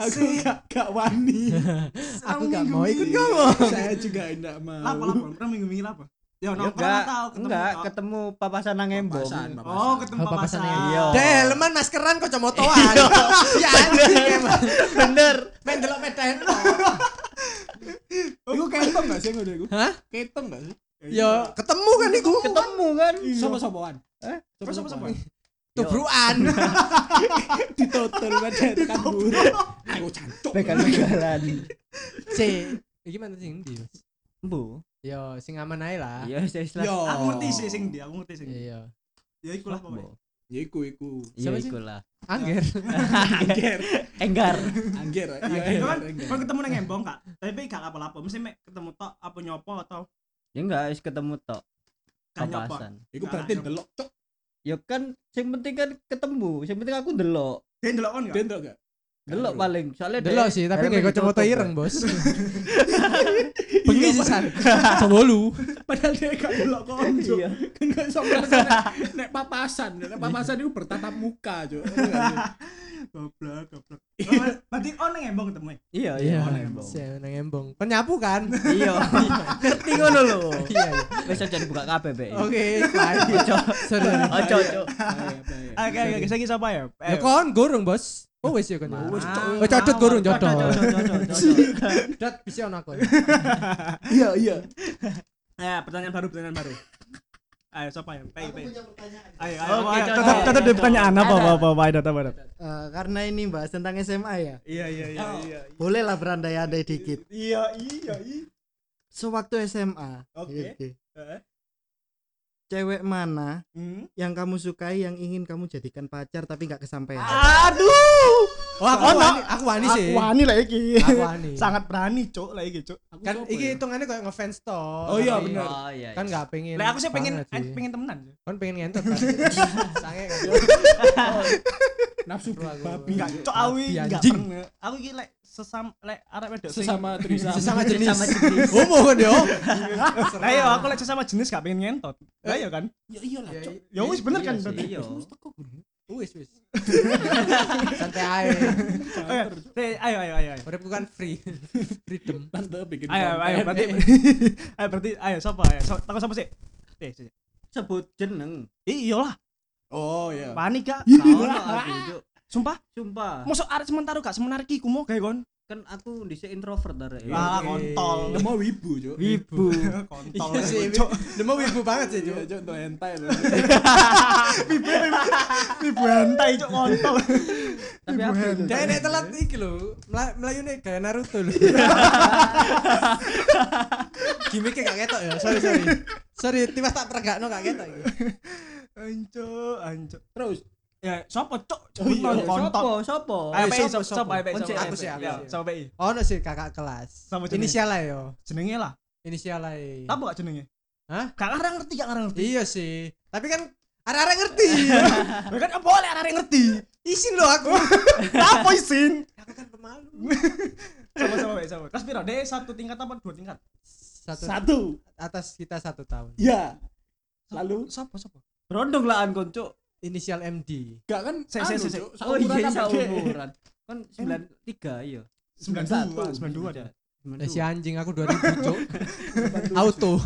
Speaker 4: aku enggak enggak wani. Aku
Speaker 3: aku gak
Speaker 4: minggu
Speaker 3: mau
Speaker 4: ini.
Speaker 3: ikut kamu
Speaker 4: Saya juga enggak mau.
Speaker 1: Lapa lapa. Pernah minggu minggu lapa? Ya
Speaker 2: Ya,
Speaker 1: nongkrong
Speaker 2: enggak,
Speaker 1: atau ketemu?
Speaker 2: enggak,
Speaker 1: tok?
Speaker 2: ketemu papasan nang embong.
Speaker 4: Papasan, papasan.
Speaker 1: Oh ketemu
Speaker 3: Oh,
Speaker 1: papasan.
Speaker 3: papasan
Speaker 2: Iya.
Speaker 3: Deh, leman maskeran kok comotoan. [LAUGHS] Ya anjing emang.
Speaker 2: Bener.
Speaker 3: Main delok pedaen.
Speaker 4: Iku ketok enggak sih ngono iku?
Speaker 3: Hah?
Speaker 4: Ketok enggak sih?
Speaker 3: Ya ketemu kan iku.
Speaker 2: Ketemu kan.
Speaker 1: Iya.
Speaker 4: Sopo-sopoan?
Speaker 2: Eh,
Speaker 1: Terus apa
Speaker 4: [LAUGHS]
Speaker 1: apa?
Speaker 3: Tubruan. [LAUGHS]
Speaker 4: Ditotul padahal kan buru. Ayo cantuk.
Speaker 2: Begal-begalan.
Speaker 3: C. Iki mantan sing ndi, Mas?
Speaker 2: Bu.
Speaker 3: Yo, sing aman ae lah.
Speaker 2: Iya, saya istilah.
Speaker 4: Yo.
Speaker 1: Aku ngerti sih sing dia, aku ngerti sing. dia.
Speaker 3: Iya.
Speaker 1: Ya iku lah pokoknya.
Speaker 2: Bu.
Speaker 4: Ya iku iku.
Speaker 2: Iya,
Speaker 3: Siapa sih?
Speaker 2: ikulah.
Speaker 3: Angger.
Speaker 4: Angger,
Speaker 2: Enggar.
Speaker 4: angger. Iya,
Speaker 1: Itu kan,
Speaker 4: angger.
Speaker 1: kan ketemu nang embong kak, tapi gak apa-apa. Mesti mek ketemu tok apa nyopo atau
Speaker 2: Ya enggak, wis ketemu tok.
Speaker 1: gak nyopo.
Speaker 2: Papasan.
Speaker 4: Iku berarti delok cok.
Speaker 2: Ya kan sing penting kan ketemu, sing penting aku ndelok.
Speaker 1: Dia ndelok kon gak?
Speaker 4: Dia enggak?
Speaker 2: Delok
Speaker 4: Iya.
Speaker 2: paling, soalnya
Speaker 3: Delok sih, tapi nggak kacamata ireng, [LAUGHS] Bos. Bengi sisan.
Speaker 4: Cowolu.
Speaker 3: [LAUGHS]
Speaker 4: Padahal dia gak delok konco.
Speaker 2: Iya.
Speaker 4: Kan gak iso ngerasain nek papasan, nek papasan itu bertatap muka, Cuk.
Speaker 1: Goblok, goblok. Oh,
Speaker 4: Iya.
Speaker 1: Berarti oh nang embong ketemu. ya?
Speaker 2: Iya, iya.
Speaker 3: Iya,
Speaker 2: nang embong.
Speaker 3: si nang embong. Kan nyapu kan?
Speaker 2: Iya. Ngerti ngono lho.
Speaker 3: Iya, iya.
Speaker 2: Wis aja dibuka kabeh, Be.
Speaker 3: Oke, bye.
Speaker 2: Ojo,
Speaker 3: Sorry.
Speaker 2: ojo, ojo.
Speaker 1: Oke, oke, saya kisah apa ya?
Speaker 3: Ya kon gorong, Bos. Oh wis ya kon.
Speaker 2: Nah.
Speaker 3: Wis. Oh, codot gorong, codot.
Speaker 1: codot.
Speaker 3: Dot bisa ono kon.
Speaker 4: Iya, iya.
Speaker 1: Eh, pertanyaan baru, pertanyaan baru. Ayo, siapa ya? Pei,
Speaker 5: Aku
Speaker 1: pei.
Speaker 5: punya pertanyaan.
Speaker 1: Ayo, ayo.
Speaker 2: Oke,
Speaker 1: ayo.
Speaker 2: cocok.
Speaker 1: Tetap, tetap di pertanyaan apa,
Speaker 2: Ada.
Speaker 1: apa, apa, apa, ada, apa, ada.
Speaker 2: Eh,
Speaker 5: karena ini bahas tentang SMA ya.
Speaker 1: Iya, iya, iya, iya.
Speaker 5: Bolehlah berandai-andai dikit.
Speaker 1: Iya, iya, iya.
Speaker 5: Sewaktu SMA.
Speaker 1: Oke.
Speaker 5: Oke.
Speaker 1: Eh,
Speaker 2: Iya, cewek mana
Speaker 1: Hmm?
Speaker 2: yang kamu sukai yang ingin kamu jadikan pacar tapi nggak kesampaian?
Speaker 1: Aduh.
Speaker 3: Oh, aku
Speaker 1: Ono.
Speaker 3: wani, aku wani sih.
Speaker 1: Aku wani lah iki.
Speaker 3: Aku wani.
Speaker 1: [LAUGHS] Sangat berani, Cuk, lah iki, Cuk.
Speaker 4: Aku
Speaker 3: Kan
Speaker 4: siapa
Speaker 3: iki
Speaker 4: ya?
Speaker 3: hitungannya kayak ngefans toh.
Speaker 4: Oh iya,
Speaker 3: Tapi
Speaker 4: bener.
Speaker 2: Oh iya.
Speaker 3: Kan nggak pengen.
Speaker 1: Lah aku sih pengen eh,
Speaker 3: banget sih.
Speaker 1: pengen temenan. Cuk.
Speaker 3: Kan pengen ngentot kan. [LAUGHS] Sange kan.
Speaker 4: nafsu babi
Speaker 1: Enggak, Cuk, aku
Speaker 3: Babi
Speaker 1: enggak
Speaker 3: anjing.
Speaker 1: pernah. Aku iki lek sesam lek arek wedok sing-
Speaker 4: sesama trisam
Speaker 3: Sesama jenis.
Speaker 2: Sama jenis.
Speaker 3: Homo kan yo.
Speaker 1: Lah iya, aku lek sesama jenis gak pengen ngentot. Lah iya kan?
Speaker 4: ya iyalah cok
Speaker 1: Ya wis bener
Speaker 2: Iya
Speaker 1: kan
Speaker 2: sih,
Speaker 1: berarti.
Speaker 2: Iya.
Speaker 4: Terus teko gue.
Speaker 3: Wis [LAUGHS] wis. Oh, Santai ae.
Speaker 1: Oke, te- Ayo ayo ayo ayo.
Speaker 3: Uripku kan free. [LAUGHS] Freedom.
Speaker 4: tante bikin
Speaker 1: Ayo ayo
Speaker 4: konten.
Speaker 1: berarti ayo berarti ayo sapa ayo. So- Takut sapa sih? Eh, sih.
Speaker 2: Sebut jeneng.
Speaker 1: Ih, iyalah,
Speaker 3: Oh iya.
Speaker 1: panik gak?
Speaker 2: Tahu aku, Cuk.
Speaker 1: Sumpah,
Speaker 2: Sumpah.
Speaker 1: mosok arek sementara gak semenarik iku mau gawe kon.
Speaker 2: Kan aku dhisik introvert Ah, dari.
Speaker 1: Lah
Speaker 4: iya,
Speaker 1: kontol.
Speaker 4: Nemu wibu cok
Speaker 2: Wibu.
Speaker 1: [LAUGHS] Kontol.
Speaker 3: Iya sih,
Speaker 1: Cuk.
Speaker 3: demo wibu banget sih,
Speaker 4: Iya,
Speaker 3: Cuk.
Speaker 4: cok untuk hentai loh
Speaker 1: Ibu hentai cok kontol.
Speaker 2: Tapi aku itu.
Speaker 3: Dia nek telat iki lho, mela- melayu nek kayak Naruto [LAUGHS] lho. Gimiknya gak ketok ya, sorry sorry. Sorry, tiba tak peregakno gak ketok iki.
Speaker 1: Ancuk, ancuk.
Speaker 4: terus
Speaker 1: Ya, sapa cok?
Speaker 4: Oh iya,
Speaker 1: Jebul kontol.
Speaker 2: Sopo, sopo.
Speaker 1: Ayo,
Speaker 3: Eh,
Speaker 1: Pei, sopo,
Speaker 3: sopo, sopo?
Speaker 1: sopo, ayo, Pei,
Speaker 2: Once,
Speaker 1: sopo,
Speaker 3: aku
Speaker 1: Pei.
Speaker 3: sih, aku
Speaker 1: Iya,
Speaker 3: sih.
Speaker 1: sopo, Pei.
Speaker 3: Ono sih kakak kelas.
Speaker 1: Sama jenis.
Speaker 3: Inisial ae yo.
Speaker 1: Jenenge lah.
Speaker 3: Inisial ae.
Speaker 1: Apa gak jenenge?
Speaker 3: Hah?
Speaker 1: Gak ngarang ngerti, gak ngarang ngerti.
Speaker 3: Iya sih. Tapi kan arek-arek
Speaker 1: [LAUGHS]
Speaker 3: ngerti.
Speaker 1: Ya kan boleh arek ngerti.
Speaker 3: Isin lho aku.
Speaker 1: Apa isin?
Speaker 3: Aku kan pemalu.
Speaker 1: Sama sama Pei, sama. Terus piro? Dek satu tingkat apa dua tingkat?
Speaker 3: Satu
Speaker 4: satu
Speaker 3: atas kita satu tahun.
Speaker 4: ya lalu
Speaker 1: Sapa sapa?
Speaker 2: Berondong lah an kon, Cuk.
Speaker 3: Inisial MD.
Speaker 4: gak kan
Speaker 1: Se-
Speaker 4: anu,
Speaker 1: se- se- se.
Speaker 4: Cuk,
Speaker 2: Oh iya, iya
Speaker 4: seumuran apa, Dek?
Speaker 2: umuran. Kan 93 iya.
Speaker 1: 92, 92 ada.
Speaker 3: Nah, si anjing aku 2000,
Speaker 1: [LAUGHS]
Speaker 3: Cuk. Auto.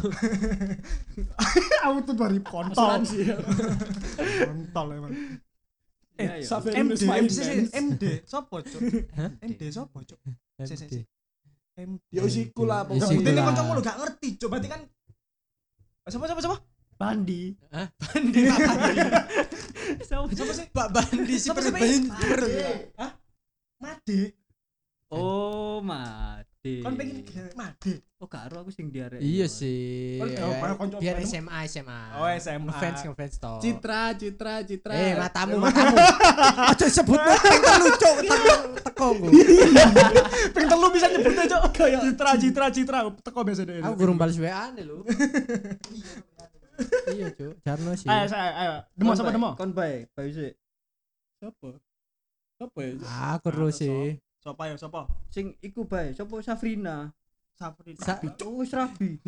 Speaker 1: Aku tuh dari kontol.
Speaker 4: asuransi ya
Speaker 1: Kontol emang.
Speaker 2: Eh,
Speaker 1: Eh,
Speaker 2: sopo.
Speaker 4: Safari
Speaker 1: MD,
Speaker 4: Nusmain,
Speaker 1: MD,
Speaker 4: Benz.
Speaker 1: MD, sapa cok?
Speaker 3: Hah? Iya,
Speaker 1: MD sapa cok? Se- se- se.
Speaker 3: MD.
Speaker 1: MD.
Speaker 4: ya usiku lah
Speaker 1: Ya, Berarti
Speaker 3: Isiku
Speaker 1: ini
Speaker 4: pokoknya
Speaker 3: lah.
Speaker 1: kancamu lu gak ngerti, coba berarti kan Eh, Siapa siapa
Speaker 3: [LAUGHS]
Speaker 1: siapa?
Speaker 2: Bandi.
Speaker 3: Hah?
Speaker 2: Bandi. Sopo.
Speaker 1: Siapa sih?
Speaker 3: Pak Bandi si
Speaker 1: Siapa sih?
Speaker 3: Perban.
Speaker 1: Made.
Speaker 2: [LAUGHS] Oh, mati.
Speaker 1: Kon pengen gila- Made.
Speaker 2: Oh, karo aku sing diarek.
Speaker 3: Iya sih.
Speaker 1: Kan jauh banget konco
Speaker 3: Biar
Speaker 1: Bandung.
Speaker 3: SMA SMA.
Speaker 1: Oh, SMA.
Speaker 3: Ngefans ngefans toh.
Speaker 4: citra citra citra
Speaker 3: Eh
Speaker 1: [LAUGHS]
Speaker 3: matamu matamu. Aja sebut neng lucu teko teko
Speaker 1: Iya.
Speaker 3: gue.
Speaker 1: Pengen telu bisa nyebutnya, Cok. Citra citra citra teko biasa deh.
Speaker 3: Aku gurung balas WA nih lu. Iya cuy, Jarno sih.
Speaker 2: Eh,
Speaker 1: Ayo, ayo, ayo. Demo sama demo.
Speaker 2: Kon bae, bae sik.
Speaker 4: siapa siapa ya Cuk?
Speaker 3: Aku ru sih.
Speaker 1: Sopo ya, sopo?
Speaker 2: Sing iku bae, sopo Safrina.
Speaker 1: Sapri.
Speaker 3: Sa-
Speaker 2: Oh, wis rabi.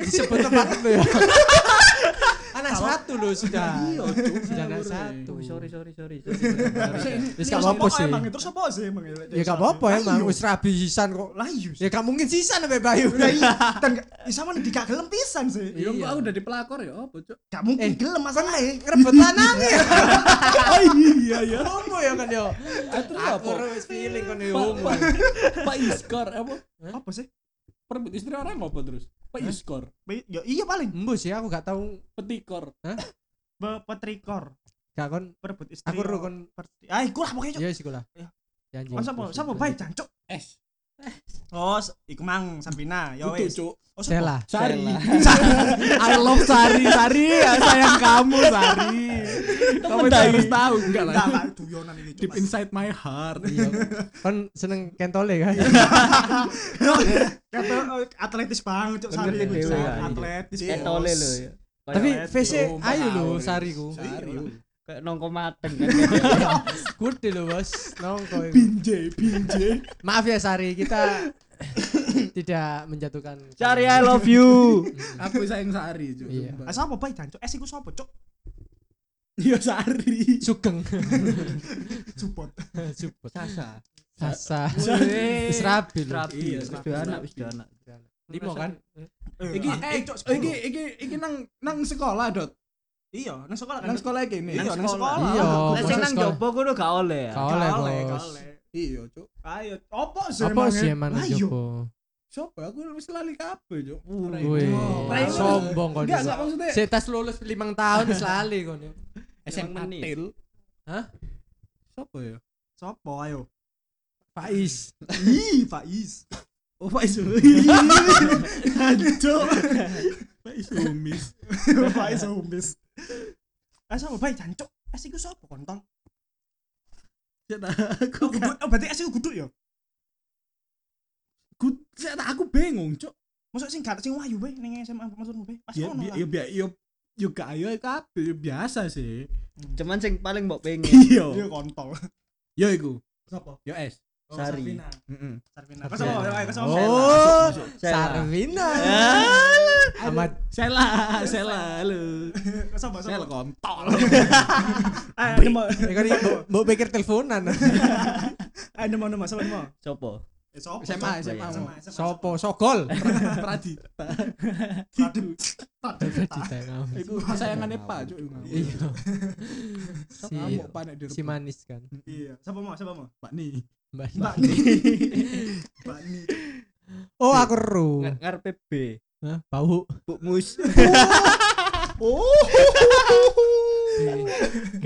Speaker 3: Disebut tempat lu ya. [LAUGHS] Anak satu lu sudah.
Speaker 4: Ah,
Speaker 2: Iya, Cuk.
Speaker 3: Sudah anak
Speaker 4: Ngawur,
Speaker 3: satu.
Speaker 2: Oh, sorry, sorry, sorry. [LAUGHS]
Speaker 3: Wis
Speaker 1: Iya,
Speaker 3: gak
Speaker 1: sopo
Speaker 3: apa-apa sih.
Speaker 1: emang? Terus sopo sih emang?
Speaker 3: Ya gak apa-apa emang wis rabi sisan kok.
Speaker 1: Layu.
Speaker 3: Ya gak mungkin sisan sampai Bayu.
Speaker 1: Ya iya, dan gak- ya sama nih gak gelem pisan sih.
Speaker 4: Ya, kok
Speaker 3: Iya.
Speaker 4: aku udah di pelakor ya apa cok
Speaker 1: Gak mungkin gelem masalahnya.
Speaker 3: Ngerebut lanang [LAUGHS] ya.
Speaker 4: oh iya ya
Speaker 3: Homo ya kan yo.
Speaker 4: Ah, terus
Speaker 3: Aku
Speaker 4: apa
Speaker 3: ru wis feeling kon yo
Speaker 4: Pak-
Speaker 3: homo.
Speaker 4: Pak- [LAUGHS] Pak Iskor apa
Speaker 1: Apa sih?
Speaker 4: perebut istri orang apa terus Pak Iskor
Speaker 1: Be- Ya iya paling
Speaker 3: Embu sih aku gak tahu
Speaker 4: petikor
Speaker 1: Be- petrikor
Speaker 3: gak kon
Speaker 1: perebut istri.
Speaker 3: aku ru kon
Speaker 1: Ah, iku lah pokoknya, Oh, Cok.
Speaker 3: ya sih lah.
Speaker 1: Iya.
Speaker 3: Ya anjing.
Speaker 1: Kon sopo? Sopo bae, Cang, Cok.
Speaker 4: es
Speaker 1: Oh, s- iku mang Sampina, ya
Speaker 4: butuh
Speaker 1: wis.
Speaker 4: cok
Speaker 1: Oh, sopo?
Speaker 3: Sela.
Speaker 4: sari
Speaker 3: I love Sari, Sari, ya, sayang kamu Sari.
Speaker 4: kamu tak harus tahu enggak lah
Speaker 1: Enggak, enggak guyonan ini.
Speaker 4: deep inside my heart
Speaker 3: Kan seneng kentole kan?
Speaker 1: [LAUGHS]
Speaker 4: Iya,
Speaker 1: Kata eh, atletis banget, Cuk. Sari
Speaker 2: Bener,
Speaker 1: ini,
Speaker 2: dewe
Speaker 1: Cuk.
Speaker 2: kan, iya.
Speaker 1: atletis. Cuk.
Speaker 2: Etole lho ya. Kayak-
Speaker 3: Tapi
Speaker 4: iya,
Speaker 1: Kayak
Speaker 3: VC
Speaker 4: Cuk,
Speaker 3: ayo lho
Speaker 4: Oh, Pak.
Speaker 3: Sariku.
Speaker 4: Sari.
Speaker 2: kayak nongko mateng kan. [LAUGHS]
Speaker 3: Good lho Bos. Nongko. iku.
Speaker 4: pinjai pinjai
Speaker 3: Maaf ya Sari, kita tidak menjatuhkan.
Speaker 2: Sari I love you.
Speaker 4: aku sayang Sari Cuk.
Speaker 3: Iya.
Speaker 4: sumpah.
Speaker 1: Ah, sopo bae, Cang, Cuk? Eh, iku sopo, Cuk?
Speaker 4: iya Sari [LAUGHS]
Speaker 3: Sugeng.
Speaker 1: Support.
Speaker 3: Subot.
Speaker 2: Sasa.
Speaker 3: Sasa.
Speaker 2: Weh.
Speaker 3: Wis rabi lho.
Speaker 2: Rabi.
Speaker 4: Iya,
Speaker 2: Wis
Speaker 4: rabi.
Speaker 2: dua anak, wis dua anak.
Speaker 3: Limo kan?
Speaker 4: iki [LAUGHS] eh
Speaker 1: Cuk,
Speaker 4: iki iki iki nang nang sekolah dot
Speaker 1: Iya, nang sekolah kan.
Speaker 4: nang sekolah gini
Speaker 1: Iya, nang sekolah.
Speaker 3: Iya,
Speaker 2: Lah sing
Speaker 3: masa
Speaker 2: nang
Speaker 3: sekolah.
Speaker 2: jopo kono gak oleh ya.
Speaker 3: Gak oleh,
Speaker 1: Gak
Speaker 3: Bos.
Speaker 1: gak oleh.
Speaker 4: iya cok
Speaker 1: Ayo, opo sih
Speaker 3: Apa
Speaker 1: emangnya?
Speaker 3: sih emang
Speaker 1: Lah, iya.
Speaker 3: Jopo?
Speaker 4: Coba aku wis lali kabeh, Cuk.
Speaker 3: Wih,
Speaker 1: Rai itu.
Speaker 3: sombong kau
Speaker 4: Enggak, enggak maksudnya.
Speaker 3: Setas lulus limang tahun wis lali kau nih.
Speaker 2: SMA nih.
Speaker 4: Til.
Speaker 3: Hah?
Speaker 4: Sopo ya?
Speaker 1: Sopo ayo?
Speaker 4: Faiz.
Speaker 1: Ih, Faiz.
Speaker 4: Oh, Faiz.
Speaker 1: Aduh.
Speaker 4: Sumis.
Speaker 1: Pak iso umis. Ah sapa bae jancuk? Es iku sapa kontol? Aku guduk, oh berarti es iku guduk ya.
Speaker 4: Ku saya tak aku bingung, Cuk.
Speaker 1: Masuk sing gak sing wayu bae ning SMA maksudmu bae. Pas
Speaker 4: Ya
Speaker 1: ono
Speaker 4: bi-
Speaker 1: lah.
Speaker 4: ya bi- ya yo gak ayo kabeh ya biasa sih.
Speaker 2: Cuman sing paling mbok pengen
Speaker 1: Dia
Speaker 4: [LAUGHS] Iya.
Speaker 1: kontol.
Speaker 4: Yo iku.
Speaker 6: Sopo?
Speaker 4: Yo es.
Speaker 2: Sari.
Speaker 4: Heeh.
Speaker 1: Sarvina. Kok sapa? Ayo, kok sapa?
Speaker 4: Oh,
Speaker 2: Sela.
Speaker 3: [LAUGHS]
Speaker 4: Sarvina. Amat Sela, Sela lu.
Speaker 1: Kok sapa? Kok
Speaker 4: Sela
Speaker 1: sapa?
Speaker 4: kontol.
Speaker 1: Ah, nemu.
Speaker 4: Ya kan mbok pikir teleponan.
Speaker 1: Ah, nemu nemu sapa nemu?
Speaker 2: Sopo?
Speaker 1: Eh sapa?
Speaker 4: SMA,
Speaker 2: SMA.
Speaker 4: SMA. [LAUGHS]
Speaker 1: SMA, SMA.
Speaker 4: Sopo ya? Sogol? Pradi. Iku kesayangannya Pak, Cuk.
Speaker 3: Iya. Si,
Speaker 4: Ngamuk panek di
Speaker 3: si manis kan.
Speaker 1: Iya. Sapa mau? Sapa mau?
Speaker 4: Pak nih.
Speaker 3: Mbak.
Speaker 1: Mbak Ni. Mbak Ni.
Speaker 3: Oh, aku ru.
Speaker 2: Ngar- Ngarepe B.
Speaker 3: Hah, bau.
Speaker 2: Buk mus.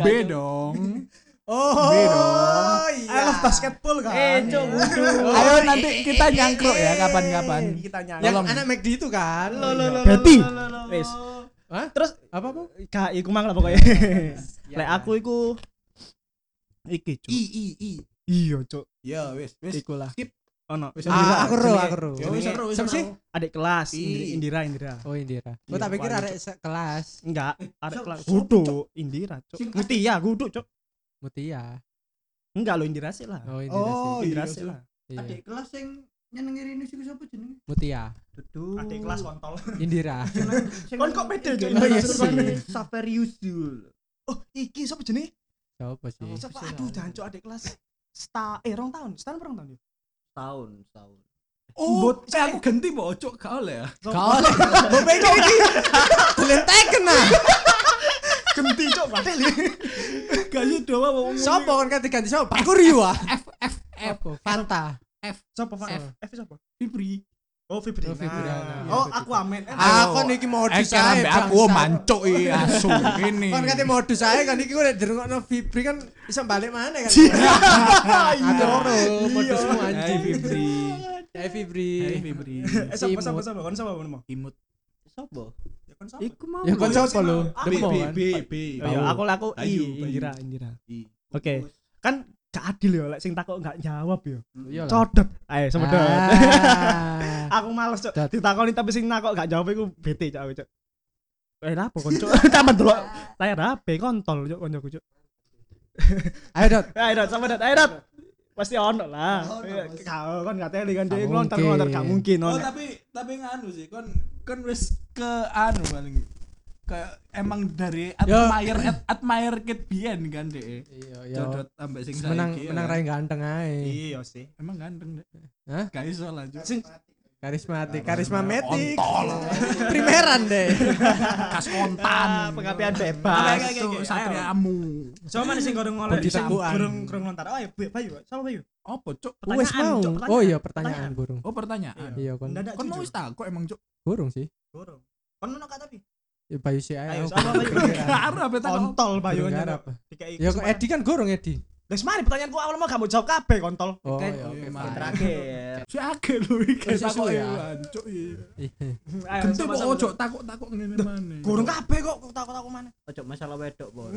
Speaker 4: B dong.
Speaker 3: Oh,
Speaker 1: I love basketball kan.
Speaker 2: Eh, cok, bodoh.
Speaker 4: Ayo nanti kita nyangkruk ya kapan-kapan.
Speaker 1: Kita nyanyi.
Speaker 4: Yang anak
Speaker 3: McD itu kan.
Speaker 2: Lo lo lo.
Speaker 3: Berarti.
Speaker 2: Wis.
Speaker 1: Terus
Speaker 3: Apa apa?
Speaker 1: gak iku mang lah [LAUGHS] pokoknya. Lek aku iku iki cuk.
Speaker 4: I I I.
Speaker 1: Iya cuk.
Speaker 4: Ya wis wis.
Speaker 3: Iku lah.
Speaker 1: Ono
Speaker 4: Wis
Speaker 3: Ah, aku ru, aku ru.
Speaker 4: Ya wis seru wis
Speaker 3: Siapa sih?
Speaker 4: seru.
Speaker 1: adik kelas
Speaker 4: Ih.
Speaker 1: Indi- Indira Indira.
Speaker 3: Oh, Indira.
Speaker 1: Iya,
Speaker 3: Oh, tak pikir
Speaker 1: paling
Speaker 3: arek sekelas
Speaker 1: Enggak, adik
Speaker 4: Cuk,
Speaker 1: kelas
Speaker 4: cuk,
Speaker 1: kudu Indira cuk.
Speaker 4: Sing-
Speaker 1: Mutia kudu cuk.
Speaker 3: Mutia.
Speaker 1: Enggak lo Indira sih lah.
Speaker 3: Oh, Indira
Speaker 4: Oh,
Speaker 3: sih.
Speaker 1: Indira
Speaker 4: iya.
Speaker 1: sih
Speaker 4: sih.
Speaker 1: lah.
Speaker 3: Iya.
Speaker 2: Adik kelas sing nyenengi rene sing sapa jenenge?
Speaker 3: Mutia.
Speaker 2: Dudu.
Speaker 1: Adik kelas kontol.
Speaker 3: Indira.
Speaker 1: Kon kok beda, Cuk?
Speaker 2: Oh iya
Speaker 3: sih.
Speaker 2: Saverius dul.
Speaker 1: Oh, iki sapa jenenge?
Speaker 3: Siapa sih?
Speaker 1: Sapa aduh jancuk adik kelas. Sta eh rong tahun, setahun perang tahun ya.
Speaker 2: Tahun, tahun.
Speaker 4: Oh,
Speaker 1: eh,
Speaker 4: saya aku ganti mau cuk kau lah ya.
Speaker 3: Kau oleh. Mbok pengen iki. Gelenteken ah.
Speaker 1: Genti cuk, padahal ya. [LAUGHS]
Speaker 4: Gayu doa mau
Speaker 3: Sopo kon kate ganti sopo? Pak Kuryu ah. F F F. Fanta.
Speaker 1: Sapa Pak? F sapa?
Speaker 4: Fibri.
Speaker 1: Oh, Fibrina.
Speaker 3: Oh, Fibrina.
Speaker 1: Oh, aku amen. Eh,
Speaker 3: Aku kan niki modus ae.
Speaker 4: aku
Speaker 3: bangsat.
Speaker 4: mancuk [LAUGHS] i asu ini.
Speaker 3: Kan kate modus ae kan iki udah dirungokno Fibri kan bisa balik mana kan. Iya. Aku ora modusmu
Speaker 4: Hai
Speaker 3: anjing.
Speaker 4: Fibri.
Speaker 3: Hai
Speaker 4: Hai
Speaker 3: Fibri.
Speaker 4: Fibri.
Speaker 1: Eh, sapa sapa sapa? Kon sapa men mau?
Speaker 4: Imut.
Speaker 2: Sopo?
Speaker 1: Ya kon sapa?
Speaker 2: Iku mau.
Speaker 3: Ya kon sapa lu?
Speaker 4: B
Speaker 3: Demo
Speaker 4: B
Speaker 3: kan.
Speaker 4: B B.
Speaker 1: Oh, ya, aku aku
Speaker 4: Ayu,
Speaker 1: I, Indira, Indira.
Speaker 4: I.
Speaker 1: Oke. Kan gak adil ya lek sing takok gak jawab ya.
Speaker 3: Iya lah.
Speaker 1: Codot. Ayo semedot.
Speaker 3: Ah.
Speaker 1: [LAUGHS] aku males cok.
Speaker 3: Dot.
Speaker 1: Ditakoni tapi sing nakok gak jawab iku bete cok aku cok. Eh lapo kon [LAUGHS] cok? Tambah delok layar HP kontol cok koncoku cok. Eh,
Speaker 3: Ayo dot.
Speaker 1: Ayo dot sama dot. Ayo dot. Pasti ono lah.
Speaker 7: Ono,
Speaker 1: Eh,
Speaker 7: pasti.
Speaker 1: Kau kan gak teli kan dia
Speaker 3: Gak
Speaker 1: ngelontar ngelontar gak mungkin
Speaker 4: Oh
Speaker 3: Iya.
Speaker 1: ono.
Speaker 4: tapi tapi nganu sih kon kon wis ke anu paling ke emang dari admire ad- admire kid Bien kan deh.
Speaker 3: Iya, iya.
Speaker 4: Dodot ambek sing saiki.
Speaker 3: Menang
Speaker 4: ya
Speaker 3: menang
Speaker 4: kan.
Speaker 3: rai ganteng ae.
Speaker 1: Iya sih.
Speaker 4: Emang ganteng deh.
Speaker 3: Hah?
Speaker 4: Gak iso lah Cuk.
Speaker 1: Sing
Speaker 3: Karismatik, karismametik.
Speaker 4: Kontol.
Speaker 3: Primeran deh.
Speaker 4: Kas kontan.
Speaker 1: ah, pengapian bebas.
Speaker 4: Pas
Speaker 1: Oke, oke, oke, ayo.
Speaker 4: satriamu.
Speaker 1: Sama nih sing gorong ngoleh
Speaker 3: Budi
Speaker 1: sing
Speaker 3: tekuan.
Speaker 1: gorong gorong lontar. Oh ya Bayu, Bayu, sama Bayu.
Speaker 4: Apa cuk?
Speaker 3: Wes
Speaker 1: Pertanyaan,
Speaker 3: mau.
Speaker 1: Cok,
Speaker 3: Oh
Speaker 1: pertanyaan.
Speaker 3: iya pertanyaan burung.
Speaker 4: Oh pertanyaan.
Speaker 3: Iya kon.
Speaker 1: Mendadak
Speaker 4: Kon mau
Speaker 1: jujur.
Speaker 4: wis tak kok emang cuk.
Speaker 3: Burung sih.
Speaker 1: Gorong. Kon ono gak tapi?
Speaker 3: Ya Bayu sih
Speaker 1: Ayo,
Speaker 3: ae. aku
Speaker 1: sama Bayu.
Speaker 3: kepikiran.
Speaker 4: Gak arep tak.
Speaker 1: Kontol Bayu
Speaker 3: Burung
Speaker 1: ngarep.
Speaker 3: Arab. Ya kok Edi kan gorong Edi.
Speaker 1: Wis mari pertanyaanku awal mau gak mau jawab kabeh kontol.
Speaker 3: Oh,
Speaker 4: Oke,
Speaker 1: [LAUGHS]
Speaker 3: iya, oke.
Speaker 4: oke,
Speaker 3: fine.
Speaker 4: mari.
Speaker 2: Terakhir.
Speaker 4: Si ake lho iki
Speaker 3: Wis iso
Speaker 4: takok
Speaker 3: ya?
Speaker 4: cuk.
Speaker 3: Iya.
Speaker 1: Ayo,
Speaker 4: Genti
Speaker 1: Eh, sama-sama.
Speaker 4: kok ojo takok-takok ngene maneh.
Speaker 1: Gorong kabeh kok kok takut-takut mana.
Speaker 2: Ojo masalah wedok, Bon.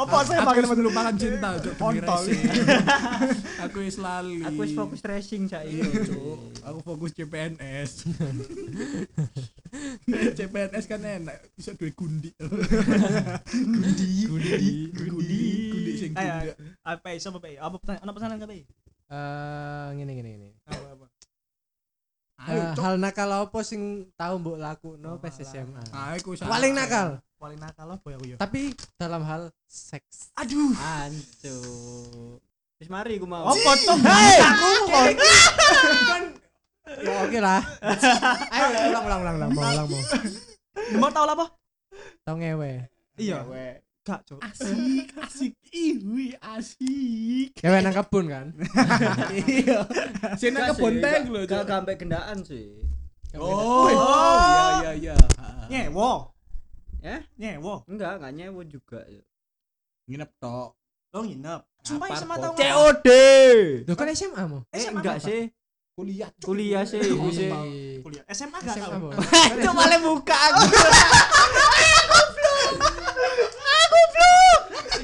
Speaker 1: Apa saya
Speaker 4: Aku
Speaker 1: panggil
Speaker 4: wis melupakan cinta cuk. demi
Speaker 1: Kontol.
Speaker 4: racing. [LAUGHS] Aku wis lali. Iya,
Speaker 2: Aku wis fokus racing saiki, Cuk.
Speaker 4: Aku fokus [LAUGHS] CPNS. CPNS kan enak, bisa duwe gundi. gundi, [LAUGHS] gundi, gundi, gundi sing
Speaker 1: Ayo,
Speaker 4: gundi.
Speaker 1: apa iso apa Bayu? Apa pertanyaan? Ono pesanan kabeh?
Speaker 3: Eh ngene ngene ngene.
Speaker 1: Apa apa?
Speaker 4: Ayo,
Speaker 3: Eh,
Speaker 4: cok.
Speaker 3: hal nakal apa sing tau mbok lakuno pas SMA?
Speaker 4: Ayo, aku wis
Speaker 3: Paling
Speaker 4: akeh.
Speaker 3: nakal,
Speaker 1: Paling nakal apa ya aku ya?
Speaker 3: tapi dalam hal seks.
Speaker 1: Aduh.
Speaker 2: Ancu. Wis mari ku mau.
Speaker 1: Apa cok?
Speaker 3: Hei, aku kon. Ya oke lah. Ayo ulang ulang ulang ulang mau ulang mau.
Speaker 1: Mau tau lah apa?
Speaker 3: Tau ngewe.
Speaker 1: Iya. Gak cok.
Speaker 4: Asik, asik, iwi, asik.
Speaker 3: Ngewe nang kebun kan?
Speaker 2: Iya.
Speaker 4: Sing nang kebon teng lho,
Speaker 2: Gak
Speaker 4: cok.
Speaker 2: sampe gendaan sih.
Speaker 4: Oh, iya iya iya.
Speaker 1: Nyewo.
Speaker 2: Eh?
Speaker 1: Nyewo.
Speaker 2: Enggak, enggak nyewa juga.
Speaker 4: Nginep tok.
Speaker 1: Lo nginep. Sumpah
Speaker 4: Ngapar,
Speaker 1: sama
Speaker 4: Bo.
Speaker 1: tau.
Speaker 2: COD. iya.
Speaker 3: Duh kan SMA mau. Iya,
Speaker 2: Eh, enggak sih.
Speaker 8: kuliah cuk.
Speaker 2: kuliah [LAUGHS] sih iku sih
Speaker 1: kuliah SMA gak
Speaker 8: SMA,
Speaker 1: tau
Speaker 8: Bos.
Speaker 2: cuma le buka aku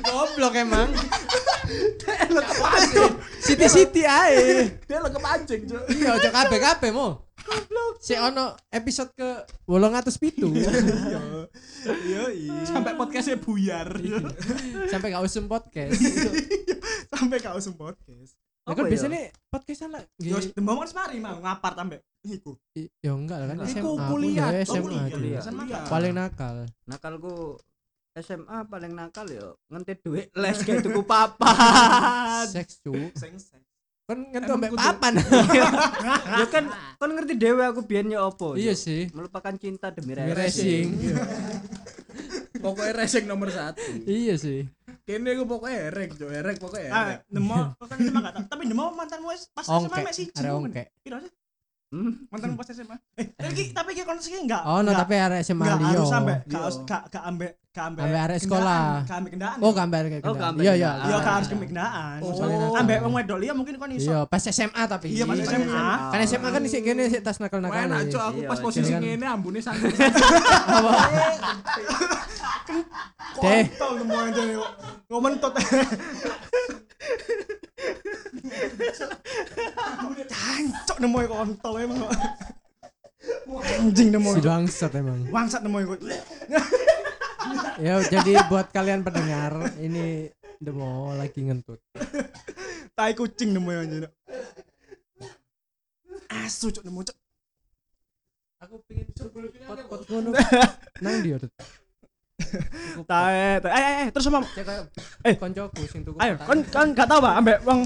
Speaker 3: Goblok emang.
Speaker 8: Siti Siti ae.
Speaker 1: dia lo kepancing cok
Speaker 3: Iya, ojo kabeh-kabeh mo. Si ono episode ke 807
Speaker 1: iya sampai podcastnya buyar
Speaker 3: sampai gak usum podcast.
Speaker 1: [LAUGHS] sampai kau usum podcast
Speaker 3: Lah kan biasanya podcastan lah.
Speaker 1: ya? yo
Speaker 3: gini.
Speaker 1: demam kan semari mah ngapar sampai iku
Speaker 3: I- Ya enggak lah kan
Speaker 2: Iku
Speaker 3: SMA.
Speaker 8: kuliah,
Speaker 3: Udah
Speaker 8: oh,
Speaker 3: SMA.
Speaker 1: kuliah,
Speaker 3: dulu.
Speaker 2: kuliah.
Speaker 1: SMA gak
Speaker 3: gitu ya. Paling nakal.
Speaker 2: nakalku SMA paling nakal yo ngentit duit les kayak tuku papa [LAUGHS]
Speaker 3: Seks cu.
Speaker 1: seng seng
Speaker 3: Kan ngentuk
Speaker 4: Emang kudu-
Speaker 3: sampai papan.
Speaker 2: ya kan kan ngerti dewe aku biyen yo
Speaker 1: Oh,
Speaker 2: opo
Speaker 3: Iya
Speaker 2: Cuk.
Speaker 3: sih.
Speaker 2: melupakan cinta demi
Speaker 1: Iya,
Speaker 3: Demi
Speaker 2: racing
Speaker 3: racing.
Speaker 4: Pokoknya racing nomor satu.
Speaker 3: Iya sih.
Speaker 4: Kene gue pokoknya erek, cok erek pokoknya erek.
Speaker 1: ah demam kan SMA gak tau tapi demam mantan gue pas SMA
Speaker 3: Ongke.
Speaker 1: mek siji
Speaker 3: Ada
Speaker 1: momen.
Speaker 3: ongke.
Speaker 1: Piro sih
Speaker 2: Hmm.
Speaker 1: mantan pas SMA eh tapi ki- tapi ki konseksi enggak
Speaker 3: Oh, no tapi ada SMA
Speaker 1: Enggak
Speaker 3: Rio.
Speaker 1: harus sampai gak
Speaker 2: Iya.
Speaker 1: harus gak gak ambe gak ambe
Speaker 3: Ambe arek sekolah.
Speaker 1: gak ambe kendaan
Speaker 3: Oh, gambar kayak
Speaker 2: Oh,
Speaker 3: gitu.
Speaker 2: gambar
Speaker 3: Iya, iya.
Speaker 2: kendaraan.
Speaker 1: iya gak harus ambe kendaan
Speaker 4: Oh.
Speaker 1: ambe wong wedok liya mungkin kon iso
Speaker 3: Iya, pas SMA tapi.
Speaker 1: iya pas SMA
Speaker 3: Kan SMA kan sih gini sih tas nakal
Speaker 4: Wah,
Speaker 3: nakal.
Speaker 4: enak cok aku
Speaker 2: Iya,
Speaker 4: pas
Speaker 2: Cok.
Speaker 4: posisi
Speaker 3: Kan-
Speaker 4: ngene [LAUGHS] ambune santai.
Speaker 3: Deh.
Speaker 1: kontol temu aja nih kok. kok mentot [LAUGHS] cancok nemu kok kontol emang kok anjing nemu
Speaker 3: Si bangsat emang.
Speaker 1: bangsat nemu kok
Speaker 3: Ya jadi buat kalian pendengar ini Demo lagi ngentut.
Speaker 1: tai kucing nemu anjing Cok. asu cok nemu cok
Speaker 3: Aku pingin pot-pot ngono. Nang dia tuh.
Speaker 1: tai tai eh eh, eh terus sama
Speaker 3: Cek kayak
Speaker 1: Eh.
Speaker 3: koncoku sing tuku.
Speaker 1: ayo
Speaker 3: kotak.
Speaker 1: kon kon gak tau pak ambek wong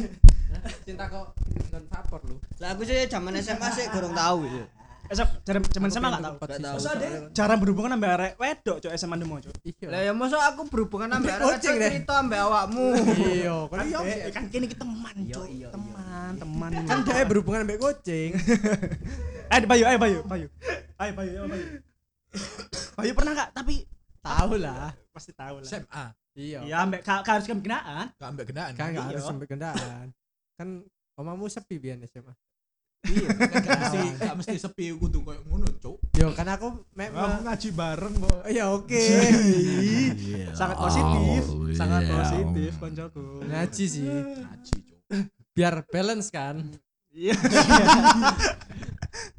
Speaker 3: cinta kok dan vapor lu.
Speaker 2: lah aku sih zaman SMA sih kurang tahu ya
Speaker 1: esok jaran eh, jaman SMA gak tau
Speaker 3: Pot
Speaker 2: tahu.
Speaker 3: sisa.
Speaker 1: Masa deh jarang berhubungan ambek arek wedok cok SMA nemu cok
Speaker 2: lah
Speaker 3: Iya.
Speaker 2: ya masa aku berhubungan ambek arek
Speaker 3: Kucing,
Speaker 2: kecil
Speaker 3: deh.
Speaker 2: cerita ambek awakmu
Speaker 3: Iya, kan iya.
Speaker 1: Eh, kan kini kita teman cok teman teman
Speaker 3: Kan dia berhubungan ambek kucing. iya,
Speaker 1: Eh, Bayu, ayo Bayu, Bayu. Ayo Bayu, ayo Bayu. Bayu pernah gak? Tapi
Speaker 3: Tahu lah.
Speaker 1: pasti tahu lah.
Speaker 4: SMA,
Speaker 3: Iya.
Speaker 1: Iya, ambek ka, ka harus kebenaran.
Speaker 4: gak ambek gendaan.
Speaker 3: Kan enggak harus
Speaker 1: Iya.
Speaker 3: sampai kendaan. Kan omamu sepi biyen SMA.
Speaker 4: Iya, kan gak mesti gak mesti sepi kudu koyo ngono, cok.
Speaker 3: Yo kan aku mek
Speaker 1: Iya.
Speaker 4: Aku ngaji bareng kok.
Speaker 3: Oh, Ya oke.
Speaker 1: Sangat positif, sangat positif koncoku.
Speaker 3: Ngaji sih.
Speaker 4: Ngaji, cok.
Speaker 3: Biar balance kan.
Speaker 1: Iya.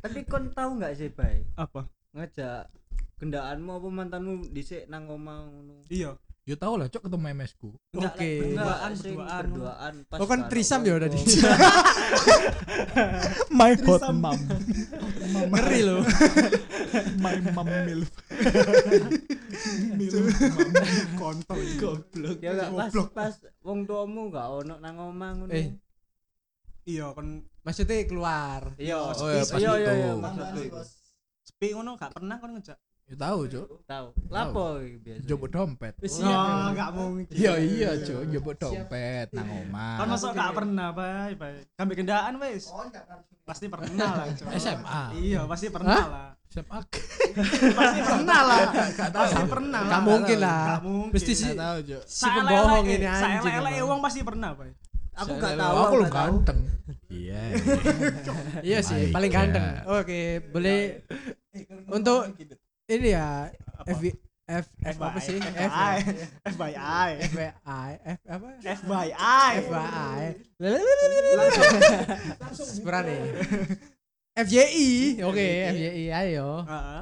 Speaker 2: tapi kon tahu nggak sih bay
Speaker 1: Apa?
Speaker 2: ngajak gendaanmu apa mantanmu dhisik nang omah ngono
Speaker 1: Iya.
Speaker 4: Yo tau lah, cok ketemu MSku.
Speaker 2: Enggak,
Speaker 3: Oke.
Speaker 2: Oh, enggak
Speaker 1: Berduaan,
Speaker 2: sing
Speaker 1: berduaan.
Speaker 2: berduaan Oh. pas
Speaker 3: Oh kan
Speaker 2: karo
Speaker 3: trisam ya udah di.
Speaker 2: wong-
Speaker 1: My hot
Speaker 4: [LAUGHS]
Speaker 1: mom.
Speaker 3: [LAUGHS]
Speaker 1: [LAUGHS]
Speaker 3: Ngeri loh.
Speaker 4: My mom milf.
Speaker 1: Kontol goblok.
Speaker 2: ya enggak pas pas wong tuamu enggak ono nang omah ngono
Speaker 3: Eh.
Speaker 1: Iya, kon
Speaker 3: Maksudnya keluar.
Speaker 2: iya
Speaker 4: Oh, iya, pas
Speaker 2: iya iya
Speaker 4: itu.
Speaker 2: iya
Speaker 9: Tambahan
Speaker 2: maksudku
Speaker 9: sih,
Speaker 2: iku.
Speaker 9: Bos.
Speaker 1: sepi ngono gak pernah kon ngejak.
Speaker 4: Yo tau, cok.
Speaker 2: tahu lapo iki biasa
Speaker 4: Jobo dompet.
Speaker 9: Iya.
Speaker 3: Wis
Speaker 1: Oh, gak mungkin.
Speaker 4: Iya iya, cok. Jobo dompet nang
Speaker 1: Kon
Speaker 4: omah.
Speaker 1: masuk gak pernah, Bay, Bay. Ambek kendaan wis.
Speaker 9: Oh, enggak kan.
Speaker 1: Pasti pernah lah, Cok.
Speaker 4: SMA.
Speaker 1: Iya, pasti pernah lah.
Speaker 4: SMA.
Speaker 1: Pasti pernah lah.
Speaker 4: Gak tau.
Speaker 1: Pasti pernah lah.
Speaker 3: Gak mungkin lah.
Speaker 1: Gak mungkin.
Speaker 3: Pasti sih
Speaker 4: Gak tau, cok.
Speaker 3: [LAUGHS] si pembohong ini
Speaker 1: Saya
Speaker 3: anjing.
Speaker 1: lele
Speaker 3: emang.
Speaker 1: uang pasti pernah, Pak.
Speaker 2: aku enggak
Speaker 4: Saya-
Speaker 2: tahu
Speaker 4: Aku lu
Speaker 2: nggak tahu.
Speaker 4: ganteng. Iya.
Speaker 3: Iya sih,
Speaker 4: Baik,
Speaker 3: paling
Speaker 4: ya.
Speaker 3: ganteng. Oke, boleh
Speaker 2: Eh, kan
Speaker 3: untuk
Speaker 2: gitu.
Speaker 3: ini ya F F F apa sih? F
Speaker 1: FYI. FYI.
Speaker 3: FYI F apa?
Speaker 1: FYI.
Speaker 3: FYI. [LAUGHS] Kurang nih. FYI, oke FYI ayo.
Speaker 1: Heeh.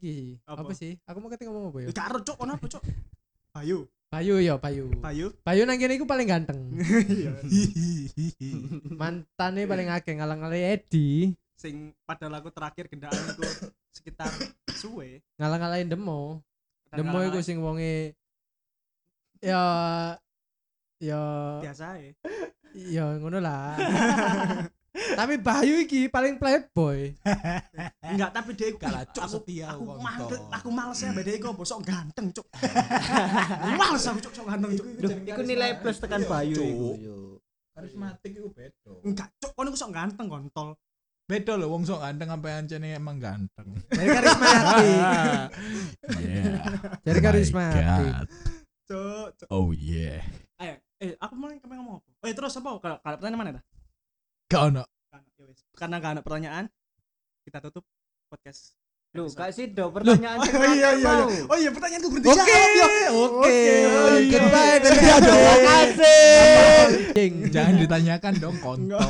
Speaker 3: Iki
Speaker 1: Apa?
Speaker 3: apa sih? Aku mau ketika ngomong apa ya?
Speaker 1: Gak cok, ono apa, cok? Bayu,
Speaker 3: Bayu ya Bayu.
Speaker 1: Bayu.
Speaker 3: Bayu nang kene iku paling
Speaker 10: [LAUGHS]
Speaker 3: ganteng.
Speaker 1: [LAUGHS] Iya.
Speaker 3: Mantane paling akeh ngalang-alang Edi,
Speaker 1: Sing pada lagu terakhir gendaan itu sekitar suwe.
Speaker 3: ngalang-alang Demo. Demo iku
Speaker 1: Kadang-kadang
Speaker 3: sing wonge ya ya
Speaker 1: biasa ya.
Speaker 3: ya ngono
Speaker 10: [LAUGHS]
Speaker 3: lah. Tapi Bayu iki paling playboy.
Speaker 1: Enggak, tapi dia
Speaker 4: Gak lah, cok,
Speaker 1: aku
Speaker 4: setia,
Speaker 1: aku
Speaker 4: kontol.
Speaker 1: males, aku males ya beda iku bosok ganteng, cok. Males aku cok, sok ganteng, cok. Duh,
Speaker 2: iku nilai plus tekan Bayu
Speaker 4: Cuk.
Speaker 2: iku yo
Speaker 4: Karismatik iku bedo.
Speaker 1: Enggak, cok, kon iku sok ganteng kontol.
Speaker 4: Bedo lho wong sok ganteng sampai ancene emang ganteng.
Speaker 3: Jadi karismatik.
Speaker 4: [LAUGHS] Yeah.
Speaker 3: Jadi
Speaker 2: Oh
Speaker 3: karismatik.
Speaker 1: Cok, cok.
Speaker 4: Oh yeah.
Speaker 1: Oh, ya, Ayo, eh aku mau kamu ngomong apa? Eh terus apa? Kalau kalau pertanyaan mana dah?
Speaker 4: Gak ono.
Speaker 1: Ya wis. Karena gak ada pertanyaan, kita tutup podcast.
Speaker 2: Lu
Speaker 1: episode.
Speaker 2: kasih do pertanyaan sing
Speaker 1: Oh iya iya
Speaker 2: akeh
Speaker 1: iya.
Speaker 2: mau.
Speaker 1: Oh iya pertanyaanku berarti
Speaker 10: Oke, ya? oke. Goodbye. Terima kasih.
Speaker 4: Jangan
Speaker 10: [LAUGHS]
Speaker 4: ditanyakan dong kontol.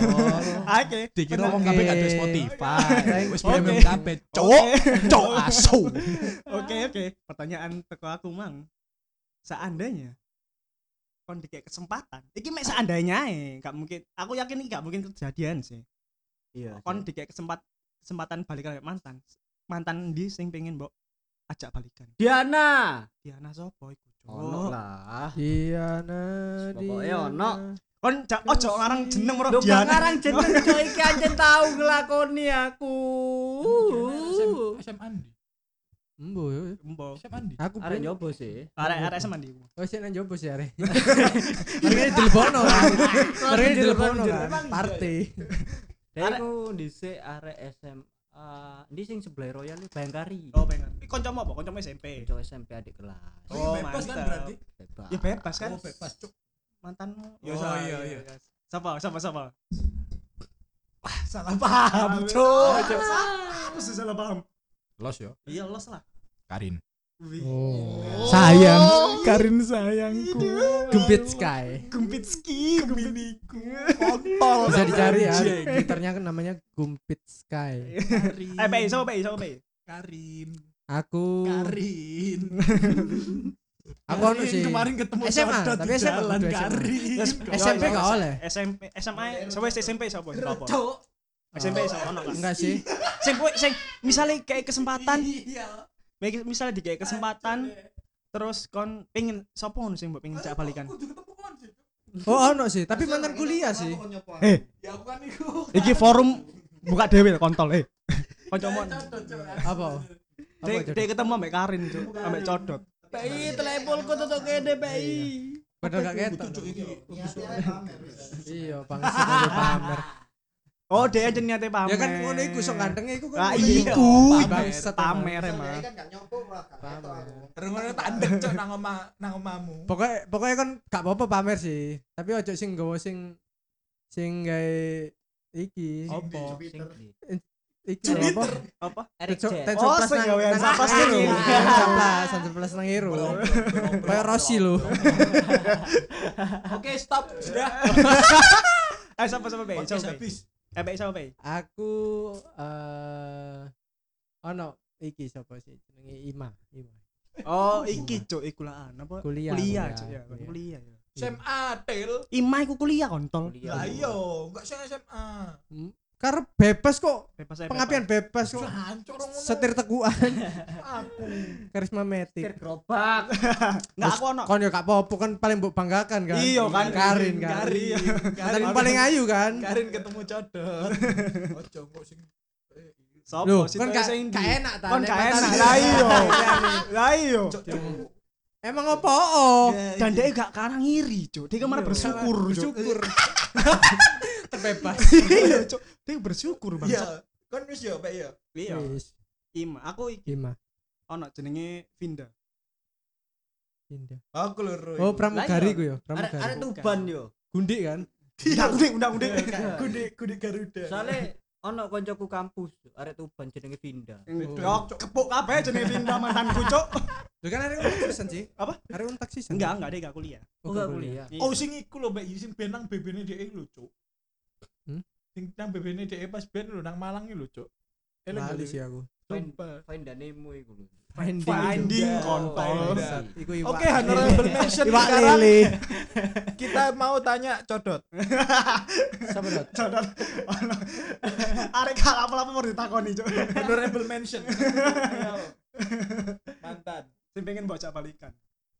Speaker 1: Oke.
Speaker 4: Dikira
Speaker 1: benar.
Speaker 4: wong kabeh gak
Speaker 3: Iya.
Speaker 4: ada Spotify. Wis
Speaker 1: Oke.
Speaker 4: premium kabeh. Cowok, cowok
Speaker 3: [LAUGHS]
Speaker 4: asu.
Speaker 1: Oke oke. Pertanyaan teko aku mang. Seandainya kon dikek kesempatan. Iki mek seandainya ae, gak mungkin. Aku yakin ini gak mungkin kejadian sih.
Speaker 2: Iya.
Speaker 1: Kon dikek kesempat kesempatan balikan karo mantan. Mantan di sing pengen mbok ajak balikan.
Speaker 2: Diana.
Speaker 1: Diana sapa iku? Cuk?
Speaker 2: Ono Oh, lah.
Speaker 3: Diana
Speaker 2: Pokoknya ono.
Speaker 1: Kon ja- ojo ngarang jeneng
Speaker 2: Lu
Speaker 1: merok
Speaker 2: kan
Speaker 1: Diana.
Speaker 2: ngarang
Speaker 1: [LAUGHS]
Speaker 2: jeneng cok iki anjen tau nglakoni aku. Uh.
Speaker 4: SM Andi.
Speaker 3: Embo yo.
Speaker 1: Embo.
Speaker 4: SM Andi.
Speaker 3: Aku
Speaker 2: Arek
Speaker 3: ben-
Speaker 2: nyoba sih.
Speaker 1: Arek-arek sama ndi?
Speaker 3: Oh sik nang jopo sih arek. Arek dilebono kan. Arek dilebono kan. Party.
Speaker 2: Aku dhisik arek SMA. Ndi sing sebelah Royal iki Bangkari.
Speaker 1: Oh pengen. Iki kancamu apa? Kancamu SMP.
Speaker 2: Cok SMP adik kelas.
Speaker 1: Oh,
Speaker 4: bebas kan
Speaker 1: mantap.
Speaker 4: berarti?
Speaker 2: Bebas.
Speaker 1: Ya bebas kan?
Speaker 4: Oh, bebas cuk.
Speaker 1: Mantanmu.
Speaker 4: Oh,
Speaker 1: sa-
Speaker 4: iya, iya.
Speaker 1: Sapa? Sapa? Sapa?
Speaker 4: Salah paham.
Speaker 1: Cuk, cuk. Aku sih salah paham.
Speaker 4: Los yo,
Speaker 1: Iya, los lah.
Speaker 4: Karin.
Speaker 1: Wih.
Speaker 3: Oh.
Speaker 4: Sayang, Karin sayangku.
Speaker 3: Gempit Sky.
Speaker 1: Gempit ski, gempiniku.
Speaker 3: Bisa dicari ya. Gitarnya kan namanya Gumpit Sky.
Speaker 4: Karin.
Speaker 1: Eh, pei, sapa pei, sapa pei.
Speaker 4: Karin.
Speaker 3: Aku
Speaker 4: Karin.
Speaker 3: aku ono
Speaker 4: Karin,
Speaker 3: sih.
Speaker 4: kemarin ketemu
Speaker 3: SMA,
Speaker 4: Jordan
Speaker 3: tapi
Speaker 4: di
Speaker 3: SMA,
Speaker 4: jalan
Speaker 3: udah SMA.
Speaker 4: Karin.
Speaker 1: Yes,
Speaker 3: SMP gak oleh.
Speaker 1: SMP, SMA, sapa SMP sapa? Sapa? SMP sapa ono kan?
Speaker 3: Enggak sih.
Speaker 1: Sing kowe sing misale kayak kesempatan. Iya. Misale di kayak kesempatan
Speaker 4: Iya.
Speaker 1: terus kon pengen sapa ngono sing mbok pengen cak balikan?
Speaker 3: Oh ono sih, tapi mantan kuliah sih.
Speaker 1: Eh.
Speaker 4: Ya, kan
Speaker 1: Iki forum buka dewe kontol eh. Kancamu.
Speaker 3: Apa? Apa
Speaker 1: Dek
Speaker 3: jodoh?
Speaker 1: dek ketemu ambek Karin, Cuk. Ambek codot.
Speaker 2: PI telepolku tutuk kene PI.
Speaker 3: Padahal gak ketok.
Speaker 5: iya,
Speaker 3: Iya, bang. pamer.
Speaker 1: Oh, dia aja niatnya pamer.
Speaker 3: Ya kan ngono iku sok gantengnya iku kan.
Speaker 1: Lah
Speaker 3: ngono
Speaker 1: iya,
Speaker 3: iku.
Speaker 1: bangsat
Speaker 3: Bangsat, emang.
Speaker 1: pamer emang.
Speaker 5: kan
Speaker 4: Rengono tandek cok nang omah nang omahmu.
Speaker 3: Pokoknya pokoknya kan gak apa-apa pamer sih. Tapi ojo sing nggawa sing sing gawe iki. [LAUGHS]
Speaker 1: Apa?
Speaker 2: Sing di
Speaker 3: Iki lho, apa?
Speaker 1: Apa?
Speaker 2: Eric
Speaker 3: Tenso-
Speaker 2: Jack.
Speaker 3: tenso
Speaker 1: Oh,
Speaker 3: plus
Speaker 1: sing
Speaker 3: nang-
Speaker 1: gawean
Speaker 3: nang
Speaker 1: sapas
Speaker 3: Aero.
Speaker 1: ini.
Speaker 3: Tenso plus, tenso plus nang Aero. Kayak Rossi lho.
Speaker 2: Oke, stop. Sudah.
Speaker 1: Eh, siapa siapa Bay?
Speaker 4: Podcast
Speaker 1: Siapa Bay?
Speaker 4: habis.
Speaker 1: Eh, Bay siapa Bay?
Speaker 3: Aku eh ono iki sapa sih jenenge Ima, Ima.
Speaker 1: Oh, iki Cuk, iku lah an, apa?
Speaker 3: Kuliah,
Speaker 1: Kuliah,
Speaker 3: kuliah,
Speaker 1: Cuk, ya.
Speaker 3: kuliah.
Speaker 1: Kuliah. ya.
Speaker 4: SMA Tel.
Speaker 1: Ima iku kuliah kontol.
Speaker 4: Lah iya, enggak sing SMA.
Speaker 3: Karep bebas kok.
Speaker 1: Bebas aja,
Speaker 3: Pengapian bebas kok.
Speaker 4: Ah, Hancur ngono.
Speaker 3: Setir teguan,
Speaker 4: aku.
Speaker 3: karisma metik.
Speaker 2: gerobak.
Speaker 1: bebas. Nggak aku ono.
Speaker 3: Kon yo gak apa-apa kan paling mbok banggakan kan.
Speaker 1: Iya kan
Speaker 3: Karin kan.
Speaker 1: Karin.
Speaker 3: Tapi paling ayu kan.
Speaker 4: Karin ketemu
Speaker 3: [LAUGHS]
Speaker 4: codot. Ojo kok sing
Speaker 1: Sopo
Speaker 3: Loh,
Speaker 1: sih?
Speaker 3: kan gak
Speaker 1: sing
Speaker 3: gak
Speaker 1: ndi?
Speaker 3: enak ta.
Speaker 1: Kon
Speaker 3: nek
Speaker 1: gak enak.
Speaker 3: mantan gak
Speaker 1: Lah
Speaker 3: enak.
Speaker 1: iya. Lah iya.
Speaker 4: cok cok.
Speaker 3: [LAUGHS] Emang oh? opo?
Speaker 1: Dan dia gak karang ngiri, Cuk. Dia kemarin bersyukur, Cuk.
Speaker 3: Syukur. Terbebas.
Speaker 1: Iya, Cuk. Dia bersyukur banget.
Speaker 4: Iya, kan wis yo Pak ya.
Speaker 1: Iya.
Speaker 3: Wis,
Speaker 1: Ima, aku iki
Speaker 3: Ima.
Speaker 1: ono jenenge Vinda.
Speaker 3: Indah.
Speaker 4: Aku lho. Roy.
Speaker 3: Oh, pramugari
Speaker 2: Lah iya.
Speaker 3: ku yo,
Speaker 2: Arek
Speaker 3: pramugari.
Speaker 2: arek Tuban yo.
Speaker 3: Gundik kan?
Speaker 4: Iya.
Speaker 1: Undang-undang, undang-undang.
Speaker 4: Gede gede Garuda.
Speaker 2: Soale ono koncoku kampus, arek Tuban jenenge Vinda.
Speaker 1: Yo Oh, kepuk kabeh jenenge Vinda mantanku, Cuk.
Speaker 3: Lho kan arek untak season sih.
Speaker 1: Apa?
Speaker 3: Arek untak season.
Speaker 1: Enggak, enggak dia gak kuliah.
Speaker 2: Oh, gak kuliah.
Speaker 4: Oh sing iku lho Mbak sing ben nang bebene dhek lho, Cuk.
Speaker 3: Hmm?
Speaker 4: Sing nang bebene dhek pas ben lho nang Malang iki lho, Cuk. Eleng
Speaker 3: Lali
Speaker 4: lho,
Speaker 3: sih aku.
Speaker 4: Coba.
Speaker 2: Vindanemu iku lho.
Speaker 1: Finding
Speaker 4: Vinda.
Speaker 1: kontol.
Speaker 4: Vinda.
Speaker 3: Iku iwak.
Speaker 4: Oh, Oke, honorable
Speaker 1: Iya.
Speaker 4: mention
Speaker 3: Iwak
Speaker 4: sekarang
Speaker 3: lele.
Speaker 4: kita mau tanya codot.
Speaker 3: Sapa dot?
Speaker 1: Codan. Ono. [LAUGHS] Arek gak apa-apa mau ditakoni, Cuk. Iya.
Speaker 4: Honorable mention. Mantan.
Speaker 1: Sing pengen baca balikan.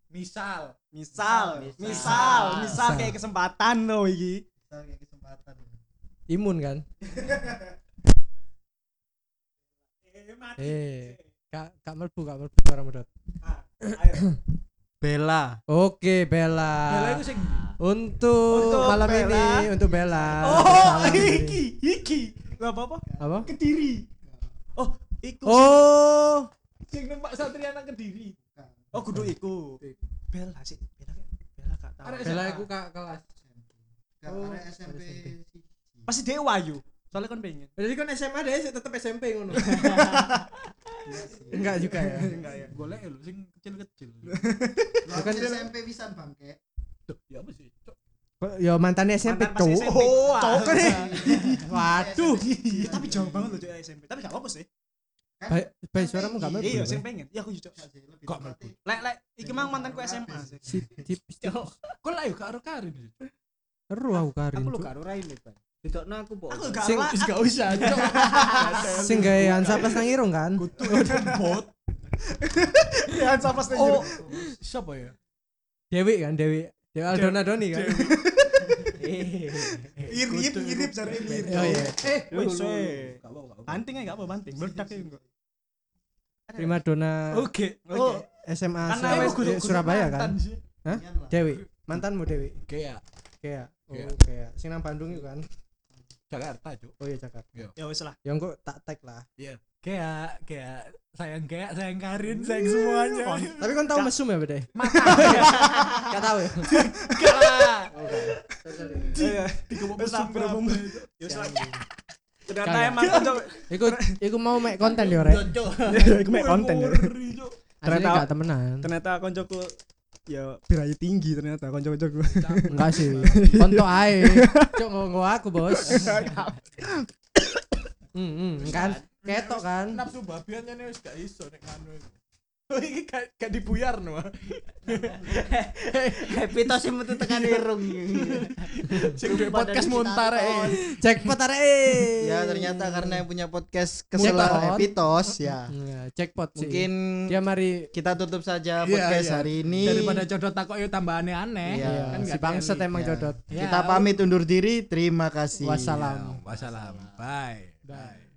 Speaker 4: Misal.
Speaker 1: Misal,
Speaker 2: Misal.
Speaker 1: misal, misal
Speaker 3: Misal.
Speaker 1: kayak kesempatan loh iki.
Speaker 3: Imun kan? Eh, kak kak melbu kak melbu suara medot. Bella. Oke, Bella.
Speaker 4: Bella itu sing
Speaker 3: Untuk,
Speaker 1: Untuk
Speaker 3: malam
Speaker 1: Bella.
Speaker 3: ini untuk Bella.
Speaker 1: Oh,
Speaker 3: Malam ini.
Speaker 1: iki, iki. Lah apa-apa?
Speaker 3: Apa?
Speaker 1: Kediri. Oh, iku.
Speaker 3: Oh,
Speaker 4: sing numpak Satria nang Kediri.
Speaker 1: Oh, kudu iku. Bella sih. Bella kayak Bella gak tahu.
Speaker 4: Arek
Speaker 3: Bella
Speaker 4: SMA.
Speaker 3: aku kak kelas.
Speaker 5: Arek SMP.
Speaker 1: Pasti dia wayu. Soalnya kan pengen.
Speaker 3: Jadi kan SMA deh sih, tetep SMP ngono. [LAUGHS] Enggak juga ya.
Speaker 1: Enggak ya.
Speaker 4: golek lho sing
Speaker 3: [LAUGHS]
Speaker 4: kecil-kecil.
Speaker 5: Bukan SMP pisan bangke.
Speaker 4: Duh, ya apa sih? Cok.
Speaker 3: Yo mantan SMP
Speaker 1: Mantan pas
Speaker 3: cowok.
Speaker 1: SMP.
Speaker 3: Oh,
Speaker 1: Wah.
Speaker 3: cowok nih.
Speaker 1: Waduh. ah. Iya, tapi jauh banget loh cok SMP. Tapi gak apa-apa sih.
Speaker 3: Baik, baik suaramu enggak mlebu.
Speaker 1: Iya,
Speaker 3: sih.
Speaker 1: sing pengen. Iya aku juga. Cok.
Speaker 5: Kok
Speaker 1: Lek lek iki mang mantanku SMA. sih.
Speaker 4: Kok lah yo ya, gak karo Karin. sih?
Speaker 3: Seru aku Karin.
Speaker 2: aku lu
Speaker 3: Cuk.
Speaker 2: karo Raine Bang didokno aku mbok
Speaker 1: Aku gak [LAUGHS]
Speaker 3: Sing-
Speaker 1: lah.
Speaker 4: Wis gak
Speaker 3: [LAUGHS]
Speaker 4: usah. Cok.
Speaker 3: Sing gawe Hansa plus nang irung kan?
Speaker 4: Bot.
Speaker 1: Ya sampai
Speaker 4: Oh, siapa ya?
Speaker 3: Dewi kan, Dewi. Dewi Aldona Doni
Speaker 1: [LAUGHS]
Speaker 3: kan.
Speaker 1: irip irip jare irip.
Speaker 3: Oh iya.
Speaker 1: Eh, wis.
Speaker 4: Gak apa-apa. gak apa-apa.
Speaker 1: Banting aja gak apa banting. Meledak ya enggak.
Speaker 3: Prima Dona
Speaker 1: Oke. Oh,
Speaker 3: SMA
Speaker 1: karena
Speaker 3: Surabaya-
Speaker 1: wes guru- guru
Speaker 3: Surabaya
Speaker 1: mantan
Speaker 3: kan.
Speaker 1: sih.
Speaker 3: Dewi, mantanmu Dewi.
Speaker 4: Oke ya.
Speaker 3: Kayak oh
Speaker 4: Iya.
Speaker 3: kayak sing nang Bandung itu kan.
Speaker 4: Jakarta, Cuk.
Speaker 3: Oh iya Jakarta.
Speaker 1: Ya wis lah.
Speaker 3: Ya engko tak tag lah.
Speaker 4: Kayak kayak sayang kayak sayang Karin,
Speaker 1: Iya,
Speaker 4: sayang semuanya.
Speaker 1: [LAUGHS]
Speaker 3: Tapi kan tahu mesum ya beda. [LAUGHS] Enggak tahu ya.
Speaker 1: Iya,
Speaker 4: Tiga mau
Speaker 1: Wis lah,
Speaker 4: mesum berapa?
Speaker 1: berhubung. Ya wis lah. Ternyata emang Cok. [LAUGHS]
Speaker 3: Iku iku mau make konten yo rek.
Speaker 1: Iku mek konten. ya.
Speaker 3: Ternyata
Speaker 1: Ternyata-
Speaker 3: enggak temenan.
Speaker 1: Ternyata koncoku ya birayu tinggi ternyata konco-koncoku.
Speaker 3: Enggak
Speaker 5: [LAUGHS]
Speaker 3: sih. Kontok ae. Cuk ngomong aku, Bos. Hmm, hmm, kan ketok kan.
Speaker 4: Nafsu babian kan wis gak iso nek anu. Oh, Iki gak gak dibuyar no.
Speaker 2: happy to sing metu tekan [LAUGHS] irung
Speaker 4: Sing duwe podcast montar eh.
Speaker 3: Cek arek.
Speaker 5: Ya ternyata karena yang punya podcast kesel
Speaker 3: Mutar.
Speaker 5: Epitos
Speaker 4: Iya.
Speaker 5: ya.
Speaker 3: Iya, jackpot sih.
Speaker 5: Mungkin
Speaker 3: dia mari
Speaker 5: kita tutup saja podcast
Speaker 4: iya.
Speaker 5: hari ini.
Speaker 4: Daripada codot takok yo Kan tambah aneh-aneh.
Speaker 5: Iya.
Speaker 3: Iya, si
Speaker 4: nggak
Speaker 3: bangset
Speaker 4: enak.
Speaker 3: emang
Speaker 5: Ya.
Speaker 3: jodot.
Speaker 5: Kita pamit undur diri. Terima kasih.
Speaker 3: Wassalam.
Speaker 4: Wassalam. Bye. Bye.